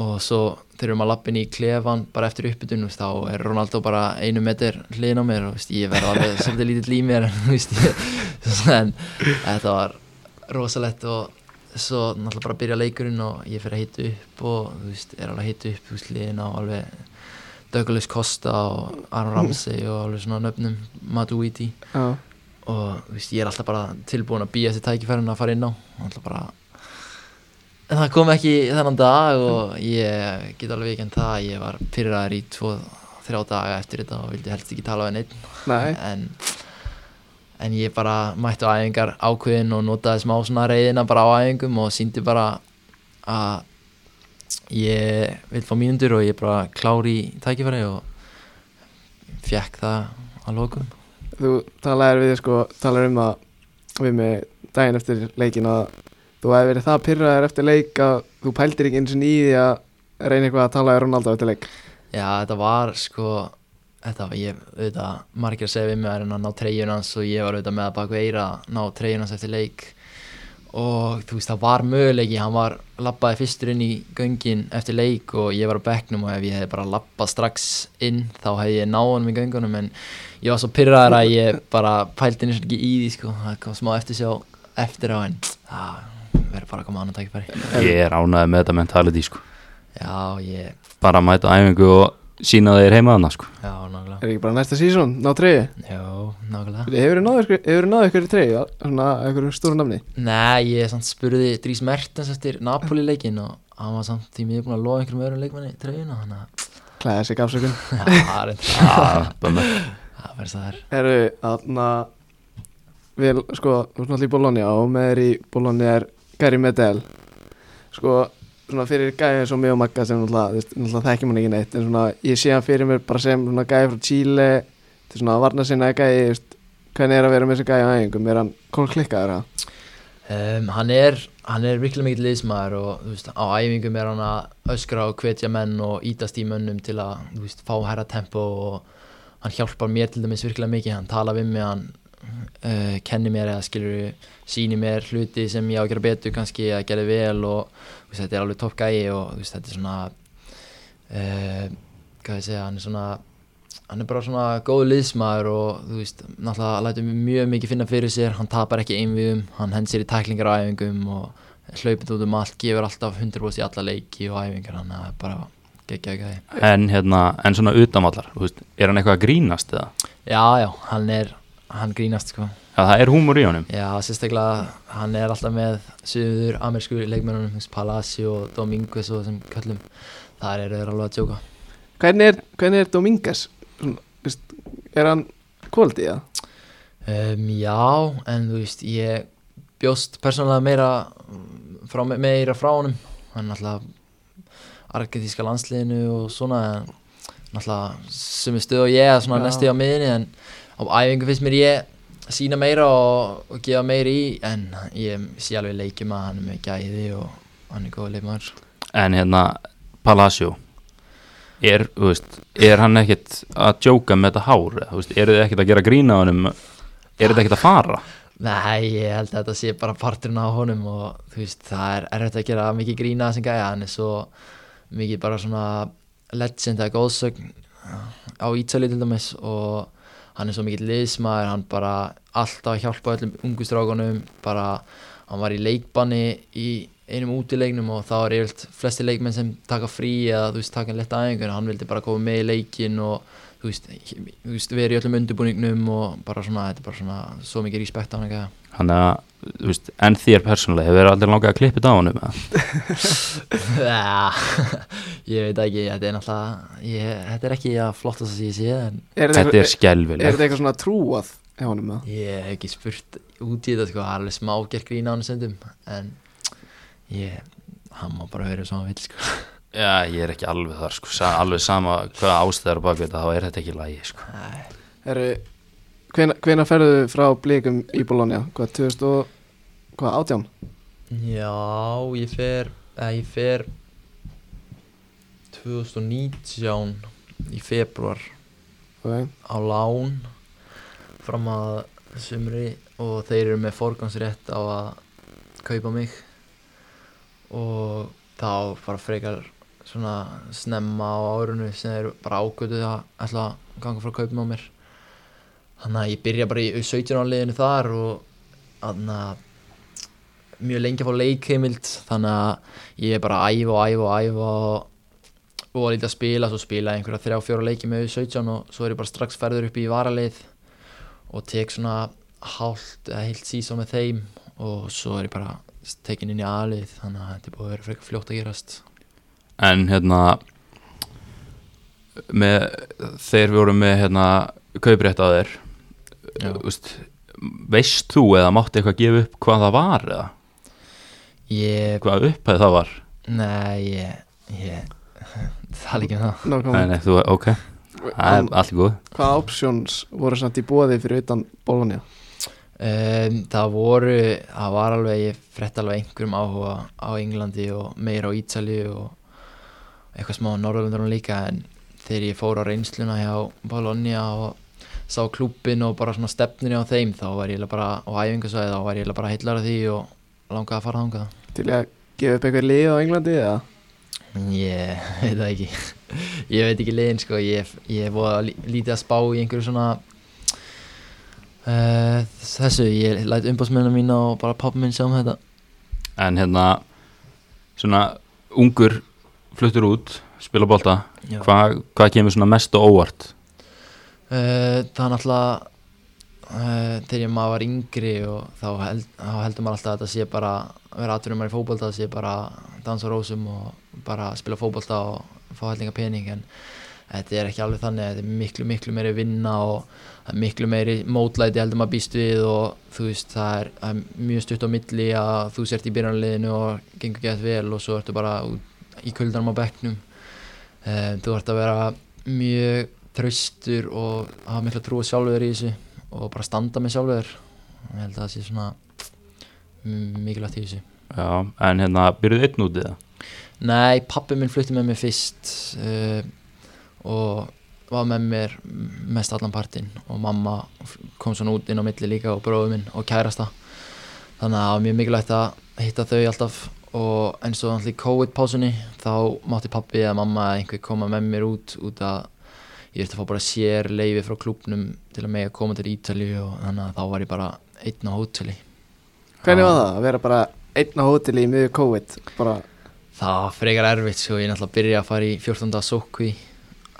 [SPEAKER 3] og svo þegar maður lappin í klefan bara eftir uppbytun, þá er Ronaldo bara einu metur hliðin á mér og veist, ég verði alveg svolítið lítill í mér en, þú veist, ég, en þetta var rosalegt og svo náttúrulega bara byrja leikurinn og ég fyrir að hita upp og þú veist, er alveg að hita upp þú veist, liðin á alveg Douglas Costa og Aron Ramsey og alveg svona nöfnum Matuidi
[SPEAKER 1] Já,
[SPEAKER 3] og þú veist, ég er alltaf bara tilbúin að býja þessi tækifærin að fara inn á og alltaf bara en það kom ekki þennan dag og ég get alveg ekki en það ég var pyrraður í tvo, þrjá daga eftir þetta og vildi helst ekki tala við neitt
[SPEAKER 1] nei,
[SPEAKER 3] en, en ég bara mætti á æfingar ákveðin og notaði smá svona reyðina bara á æfingum og síndi bara að ég vil fá mínundur og ég er bara klári í tækifæri og fekk það að lokum
[SPEAKER 1] þú talaðir við sko, talaðir um að við með daginn eftir leikin að þú hefði verið það pyrraður eftir leik að þú pældir ekki eins og nýði að reyna eitthvað að tala við Ronaldo eftir leik
[SPEAKER 3] Já, þetta var sko Þetta var ég, auðvitað, margir að segja við mig að reyna að ná treyjun hans og ég var auðvitað með að baka eira að ná treyjun hans eftir leik og þú veist, það var möguleiki hann var, labbaði fyrstur inn í göngin eftir leik og ég var á bekknum og ef ég hefði bara labbað strax inn þá hefði ég náð honum í göngunum en ég var svo pyrraður að ég bara pældi nýst ekki í því sko, það kom smá eftir sjá eftir á en það verður bara að koma annan tækifæri
[SPEAKER 2] Ég er ánæði með þetta mentality sko
[SPEAKER 3] Já, ég,
[SPEAKER 2] Bara að mæta á æfingu og sína þeir heima þarna sko
[SPEAKER 3] já, nákvæmlega
[SPEAKER 1] Er ekki bara næsta sísón, ná treyju?
[SPEAKER 3] Já, nákvæmlega
[SPEAKER 1] Hefur þú náðu ykkur í treyju, svona ykkur stóru nafni?
[SPEAKER 3] Nei, ég samt spurði Drís Mertens eftir Napoli leikin og hann var samt því miður búin að lofa einhverjum öðrum leikmanni í treyjuna þannig að
[SPEAKER 1] Klæðið sig afsökun
[SPEAKER 3] Já, það er þetta
[SPEAKER 2] Já, bömmur.
[SPEAKER 3] Það verðist það er
[SPEAKER 1] Herru, þarna við, sko, þú erum allir í Bologna og með þér í Bologna er Gary Medel sko, svona fyrir gæði sem mjög magga sem náttúrulega, þú veist, náttúrulega þekkjum hann ekki neitt en svona, ég sé hann fyrir mér bara sem svona gæði frá Chile til svona varna sinna gæði, þú veist, Hvernig er að vera með þessi gæja á æfingum? Er hann komin klikkaður það?
[SPEAKER 3] Um, hann er, hann er virkilega mikill liðsmaður og þú veist, á æfingum er hann að öskra og hvetja menn og ítast í mönnum til að, þú veist, fá herra tempo og hann hjálpar mér til dæmis virkilega mikið, hann talar við mig, hann uh, kennir mér eða skilur síni mér hluti sem ég á að gera betur kannski eða gera vel og þú veist, þetta er alveg topp gæi og þú veist, þetta er svona uh, hvað ég segja, hann er svona hann er bara svona góð liðsmaður og þú veist, náttúrulega lætur mig mjög mikið finna fyrir sér, hann tapar ekki einviðum hann hend sér í tæklingar á æfingum og hlaupið út um allt, gefur alltaf 100% í alla leiki og æfingar hann er bara geggjaði gæði.
[SPEAKER 2] en, hérna, en svona utanvallar, þú veist, er hann eitthvað að grínast eða?
[SPEAKER 3] Já, já, hann er hann grínast sko.
[SPEAKER 2] Já, það er húmur í honum
[SPEAKER 3] Já, sérstaklega hann er alltaf með söður amersku leikmennunum, Palasi og Dominguez og þessum köllum, þar eru þeir alveg að djóka.
[SPEAKER 1] Hvernig er, hvernig er Domingas? Svona, veist, Er hann kvöldið það?
[SPEAKER 3] Um, já, en þú veist, ég bjóst persónulega meira mm, frá, meira frá honum hann náttúrulega argetíska landsliðinu og svona en náttúrulega sem er stuð og ég er svona
[SPEAKER 1] Já.
[SPEAKER 3] næstu á miðinni en á æfingu finnst mér ég sína meira og, og gefa meira í en ég sé alveg í leikjum að hann er með gæði og hann er góð leikmaður
[SPEAKER 2] en hérna, Palacio er, þú veist, er hann ekkit að djóka með þetta hár eða, þú veist, eru þið ekkit að gera grína honum er þetta ekkit að fara?
[SPEAKER 3] Nei, ég held að þetta sé bara parturinn á honum og þú veist, það er erfitt að gera mikið grína sem gæja, hann er svo mikið bara svona legend eða góðsögn á Ítali til dæmis og hann er svo mikið liðsmaður, hann bara alltaf að hjálpa öllum ungu strákunum, bara hann var í leikbanni í einum útileiknum og þá er yfirlt flesti leikmenn sem taka frí eða þú veist taka lett aðeingur, hann vildi bara koma með í leikin og þú veist, þú veist verið í öllum undirbúningnum og bara svona, þetta er bara svona svo mikið respekt á hann ekki
[SPEAKER 2] hann að, þú veist, en þér persónulega hefur þér aldrei langað að klippa þetta á honum eða?
[SPEAKER 3] ég veit ekki, þetta er náttúrulega ég, þetta er ekki að flottast að ég sé en
[SPEAKER 1] Er
[SPEAKER 2] þetta
[SPEAKER 1] eitthvað-
[SPEAKER 2] er skelvileg
[SPEAKER 1] Er þetta eitthvað svona trúað hjá honum það?
[SPEAKER 3] ég hef ekki spurt út í þetta sko, það er alveg smá gerð grín á hann sendum en ég, hann má bara höra svo hann vil sko
[SPEAKER 2] Já, ég er ekki alveg þar sko, sa alveg sama hvaða ástæður á bak við þetta, þá er þetta ekki lægi sko.
[SPEAKER 3] Æ,
[SPEAKER 1] Eru, hvena, hvena ferðu frá blikum í Bologna? Hvað, 2000 og, hvað, 18?
[SPEAKER 3] já, ég fer eða ég fer 2019 í februar
[SPEAKER 1] Okay.
[SPEAKER 3] á lán fram að sumri og þeir eru með forgangsrétt á að kaupa mig og þá bara frekar svona snemma á árunnu sem þeir bara ágötu að ætla að ganga frá kaupum á mér þannig að ég byrja bara í 17 áliðinu þar og þannig að mjög lengi að fá leikheimild þannig að ég er bara að æfa og æfa og æfa og og var lítið að spila, svo spilaði ég einhverja þrjá fjóra leiki með 17 og svo er ég bara strax ferður upp í varaleið og tek svona hálft eða heilt sísón með þeim og svo er ég bara tekin inn í aðlið þannig að þetta er búið að vera frekar fljótt að gerast
[SPEAKER 2] En hérna, með, þeir voru með hérna, kauprétt á þér,
[SPEAKER 3] Já.
[SPEAKER 2] Úst, veist þú eða mátti eitthvað gefa upp hvað það var eða
[SPEAKER 3] Ég,
[SPEAKER 2] hvað upphæð það var?
[SPEAKER 3] nei, ég, ég það er ekki um það
[SPEAKER 2] Nei,
[SPEAKER 1] Nákvæmlega.
[SPEAKER 2] nei, þú, ok, það er
[SPEAKER 1] Hann-
[SPEAKER 2] allt í góð.
[SPEAKER 1] Hvaða options voru samt í bóði fyrir utan Bologna?
[SPEAKER 3] um, Það voru, það var alveg ég frett alveg einhverjum áhuga á Englandi og meira á Ítali og eitthvað smá Norðurlundurinn líka en þegar ég fór á reynsluna hjá Bologna og sá klúppin og bara svona stefnunni á þeim þá var ég eiginlega bara á æfingasvæði þá var ég eiginlega bara heillar af því og langaði að fara þangað
[SPEAKER 1] Til ég að gefa upp eitthvað lið á Englandi eða?
[SPEAKER 3] Ég veit það ekki Ég veit ekki leiðin sko Ég, ég voða lí- lítið að spá í einhverju svona uh, Þessu Ég læt umbásmennina mína og bara pappa minn sjá um þetta
[SPEAKER 2] En hérna, svona ungur fluttur út, spila bolta,
[SPEAKER 3] Já.
[SPEAKER 2] hvað hva kemur svona mest og óvart?
[SPEAKER 3] Eh, Það er náttúrulega uh, þegar maður var yngri og þá, held, þá heldur maður alltaf að þetta sé bara að vera atvinnum maður í fótbolta það sé bara dansa á rósum og bara spila fótbolta og fá hellinga pening en þetta er ekki alveg þannig þetta er miklu miklu meiri vinna og það er miklu meiri mótlæti heldur maður býst við og þú veist það er, það er mjög stutt á milli að þú sért í byrjanliðinu og gengur gett vel og svo ertu bara út í kuldanum á bekknum Eh, um, þú ert að vera mjög traustur og hafa mikla trú á sjálfur í þessu og bara standa með sjálfur ég held að það sé svona m- mikilvægt í þessu
[SPEAKER 2] Já, en hérna, byrjuðu einn út í það?
[SPEAKER 3] Nei, pappi minn flutti með mér fyrst uh, og var með mér mest allan partinn og mamma fl- kom svona út inn á milli líka og bróður minn og kærasta þannig að það var mjög mikilvægt að hitta þau alltaf og eins og alltaf í COVID-pásunni þá mátti pappi eða mamma eða einhver koma með mér út út að ég ætti að fá bara sér leifi frá klúbnum til að mega koma til Ítalíu og þannig að þá var ég bara einn á hóteli
[SPEAKER 1] Hvernig var það að vera bara einn á hóteli í miður COVID? Bara,
[SPEAKER 3] Það var frekar erfitt sko, ég náttúrulega byrja að fara í 14. sókvi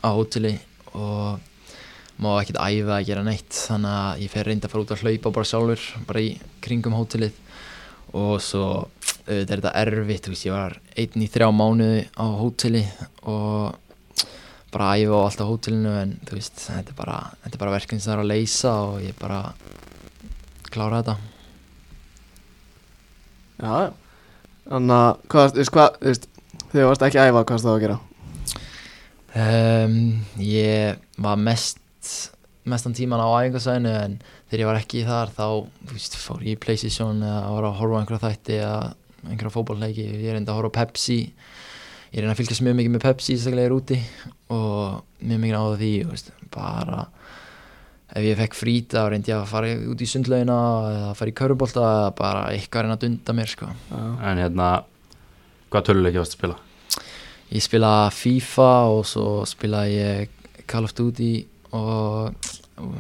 [SPEAKER 3] á hóteli og má ekkert æfa að gera neitt þannig að ég fer reyndi að fara út að hlaupa bara sjálfur, bara í kringum hótelið og svo auðvitað er þetta erfitt, þú veist, ég var einn í þrjá mánuði á hóteli og bara að æfa á allt á hótelinu en þú veist, þetta er bara, þetta er bara verkefni sem það er að leysa og ég bara klára þetta.
[SPEAKER 1] já, já. Þannig að, hvað, varst- þú veist, hvað, þú veist, þegar þú varst ekki að æfa, hvað varst það að gera?
[SPEAKER 3] Um, ég var mest mestan tíman á æfingarsvæðinu en þegar ég var ekki þar þá þú veist, fór ég í Playstation eða var að horfa á einhverja þætti eða einhverja fótballleiki ég reyndi að horfa á Pepsi ég reyndi að fylgjast mjög mikið með Pepsi sérstaklega ég er úti og mjög mikið áður því þú veist, bara ef ég fekk frít þá reyndi ég að fara út í sundlaugina eða fara í körubolta eða bara eitthvað að reyna að dunda mér sko.
[SPEAKER 1] Já.
[SPEAKER 2] En hérna, hvað töluleiki varst að spila?
[SPEAKER 3] Ég spila FIFA og svo spila ég Call of Duty og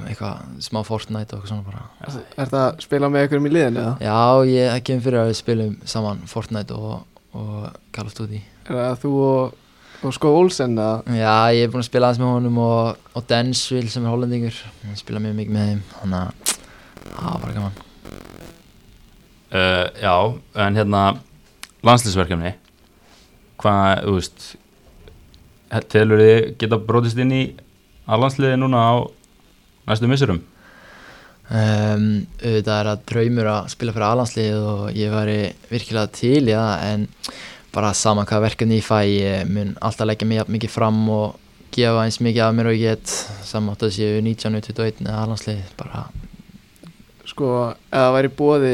[SPEAKER 3] eitthvað smá Fortnite og eitthvað svona bara.
[SPEAKER 1] Er það að spila með einhverjum í liðinu eða?
[SPEAKER 3] Já, ég það kemur fyrir að við spilum saman Fortnite og, og Call of Duty.
[SPEAKER 1] Er það þú og, og Sko Olsen eða?
[SPEAKER 3] Já, ég er búinn að spila aðeins með honum og, og Densville sem er hollendingur. Ég spila mjög mikið með þeim, þannig að það var bara gaman.
[SPEAKER 2] Uh, já, en hérna, landslýsverkefni, hvað, þú veist, telur þið geta brotist inn í að landsliði núna á næstu missurum?
[SPEAKER 3] um, auðvitað er að draumur að spila fyrir alansliðið og ég væri virkilega til í það en bara saman hvað verkefni ég fæ ég mun alltaf leggja mig jafn mikið fram og gefa eins mikið af mér og ég get samátt að séu 19, 21 eða alansliðið bara
[SPEAKER 1] Sko, eða væri bóði,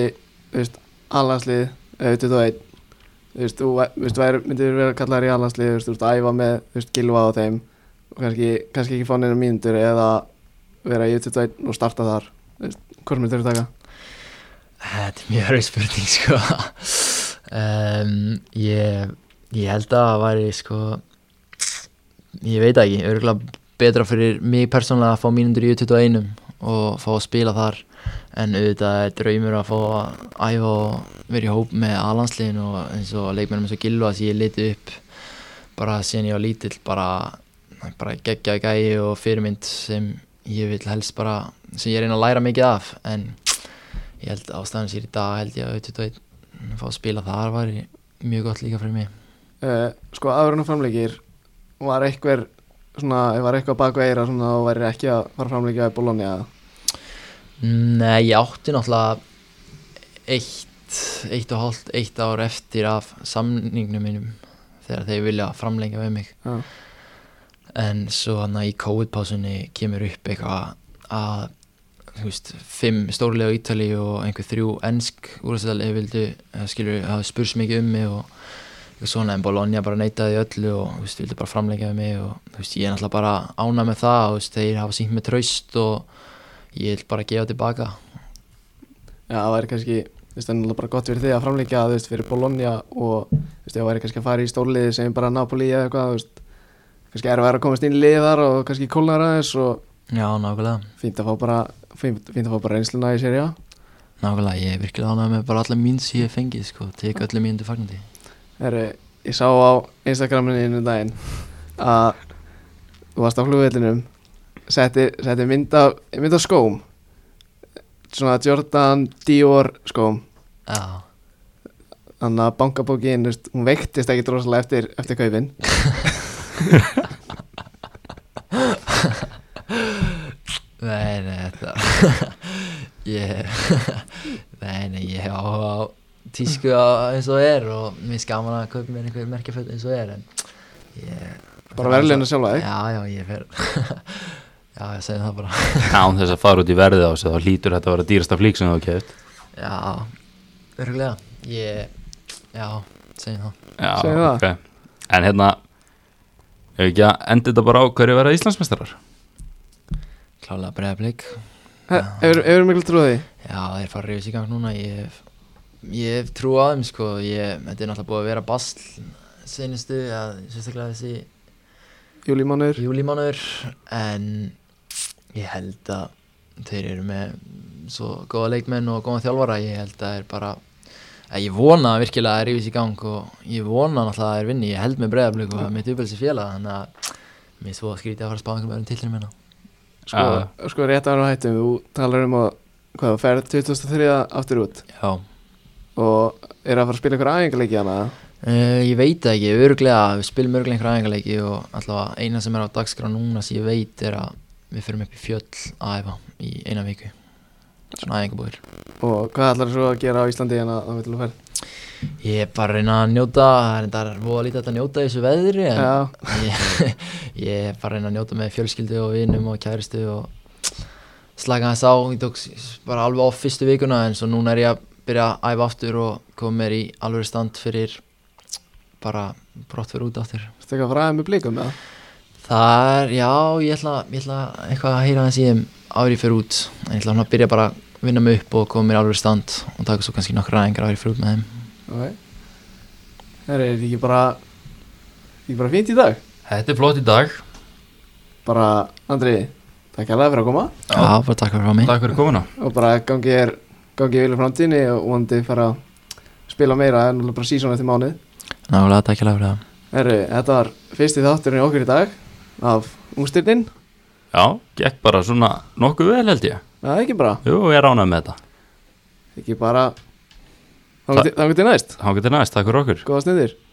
[SPEAKER 1] þú veist, allanslið, eða veitu þú einn, þú veist, þú væ- þú veist, væri, myndir vera kallar í allanslið, þú veist, þú veist, æfa með, þú veist, gilva á þeim og kannski, kannski ekki fá neina mínútur eða vera í 21 og starta þar, þú veist, hvort myndir þú taka?
[SPEAKER 3] Þetta er mjög erfið spurning sko um, ég, ég held að það væri sko Ég veit það ekki, örgulega betra fyrir mig persónulega að fá mínundur í 21 og fá að spila þar en auðvitað er draumur að fá að æfa og vera í hóp með alansliðin og eins og leikmennum eins og gilva sem ég liti upp bara síðan ég var lítill bara, bara geggja gæi og fyrirmynd sem ég vil helst bara sem ég reyna að læra mikið af en ég held ástæðan sér í dag held ég að 21 að fá að spila þar var mjög gott líka fyrir mig
[SPEAKER 1] Uh, sko, aðurinn og framleikir, var einhver, svona, var eitthvað baku eira svona og væri ekki að fara framleikja í Bologna eða?
[SPEAKER 3] Nei, ég átti náttúrulega eitt, eitt og hálft eitt ár eftir af samningnum mínum þegar þeir vilja framlengja við mig
[SPEAKER 1] Já.
[SPEAKER 3] en svo hann í COVID-pásunni kemur upp eitthvað að þú veist, fimm stórlega á Ítali og einhver þrjú ensk úrstæðal eða vildu, eða skilur, það spurs mikið um mig og eitthvað svona en Bologna bara neitaði öllu og þú veist, vildu bara framlengja við mig og þú veist, ég er náttúrulega bara ánað með það og þú veist, þeir hafa sínt með traust og ég vil bara gefa tilbaka
[SPEAKER 1] Já, það væri kannski, þú veist, það er náttúrulega bara gott fyrir þig að framleika, þú veist, fyrir Bologna og, þú veist, það væri kannski að fara í stórliði sem bara Napoli eða eitthvað, þú veist, kannski erfið að komast inn í liðið þar og kannski kólnar aðeins og
[SPEAKER 3] Já, nákvæmlega,
[SPEAKER 1] fínt að fá bara, fínt, fínt að fá bara reynsluna í séri, já.
[SPEAKER 3] nákvæmlega, ég er virkilega ánað með bara alla mín sem ég hef fengið sko, tek öllu mín til fagnandi
[SPEAKER 1] Herru, ég sá á Instagraminu einu daginn að þú varst á flugvellinum, setti, setti mynd af, mynd af skóm, svona Jordan Dior skóm,
[SPEAKER 3] Já,
[SPEAKER 1] þannig að bankabókin, þú veist, hún veiktist ekki drosalega eftir, eftir kaupin.
[SPEAKER 3] nei, nei, þetta Ég, nei, nei, ég hef áhuga á tísku á- eins og er og mér finnst gaman að kaupa mér einhver merkjaföld eins og er en ég
[SPEAKER 1] Bara verðlauna sjálfa þig?
[SPEAKER 3] Já, já, ég fer já, ég segi það bara
[SPEAKER 2] án þess að fara út í verðið á þessu þá hlýtur þetta að vera dýrasta flík sem þú hefur keft
[SPEAKER 3] já, örgulega ég, já, segi það
[SPEAKER 2] Já,
[SPEAKER 1] Segðu það.
[SPEAKER 2] ok. En hérna ef ekki að enda þetta bara á hverju verða Íslandsmeistarar
[SPEAKER 3] klálega breiðablík
[SPEAKER 1] Hefur þú miklu trúið því?
[SPEAKER 3] já, þeir fara að rífis í gang núna ég hef, ég hef trú á þeim sko ég, þetta er náttúrulega búið að vera basl seinustu, ja, sérstaklega þessi
[SPEAKER 1] Júlímánuður?
[SPEAKER 3] júlímánuður en ég held að þeir eru með svo góða leikmenn og góða þjálfara ég held að það er bara að ég vona virkilega að það rífis í gang og ég vona náttúrulega að það er vinni, ég held með breiðablík og það er mitt uppelsi félag þannig að mér er svo skrítið að fara að spá einhverjum öðrum hérna. tillinu minna
[SPEAKER 1] Sko,
[SPEAKER 2] Eh,
[SPEAKER 1] sko rétt ára hættum, þú talar um að hvað þú ferð 2003 aftur út
[SPEAKER 3] já,
[SPEAKER 1] og er að fara að spila ykkur aðeingarleiki hana
[SPEAKER 3] Uh, ég veit það ekki, örglega, við spilum örglega einhverja æfingarleiki og allavega eina sem er á dagskrá núna sem ég veit er að við förum upp í fjöll að æfa í eina viku, svona æfingabúðir.
[SPEAKER 1] og hvað ætlar þú svo að gera á Íslandi hana þá veitum þú ferð?
[SPEAKER 3] Ég er bara að reyna að njóta, það er voða lítið hægt að njóta í þessu veðri en
[SPEAKER 1] Já.
[SPEAKER 3] ég, ég er bara að reyna að njóta með fjölskyldu og vinum og kæristu og slaka þess á, ég tók s- bara alveg á fyrstu vikuna en svo núna er ég að byrja að æfa aftur og koma mér í alveg stand fyrir bara brott fyrir út aftur.
[SPEAKER 1] Ertu eitthvað fræðið með blíkum eða?
[SPEAKER 3] Það er, já, ég ætla, ég ætla eitthvað að heyra hans í þeim árið fyrir út en ég ætla hann að byrja bara að vinna mig upp og koma mér alveg í stand og taka svo kannski nokkra aðingar árið fyrir út með þeim
[SPEAKER 1] Ok Það er þetta ekki bara ekki bara fínt í dag
[SPEAKER 2] Þetta er flott í dag
[SPEAKER 1] bara Andri, takk hérlega fyrir að koma
[SPEAKER 3] Já, bara takk fyrir að fá mig
[SPEAKER 2] Takk fyrir komuna
[SPEAKER 1] og bara gangi er gangi vilja framtíðinni og vandi fara að spila meira en náttúrulega bara sísón eftir mánuð
[SPEAKER 3] Nálega, takk fyrir það
[SPEAKER 1] Herru, þetta var fyrsti þátturinn í okkur í dag af ungstyrnin
[SPEAKER 2] Já, gekk bara svona nokkuð vel held ég
[SPEAKER 1] það er ekki bara,
[SPEAKER 2] Jú, ég er ánægð með þetta
[SPEAKER 1] ekki bara þá getur næst,
[SPEAKER 2] Hangið til næst, takk fyrir okkur
[SPEAKER 1] góða stundir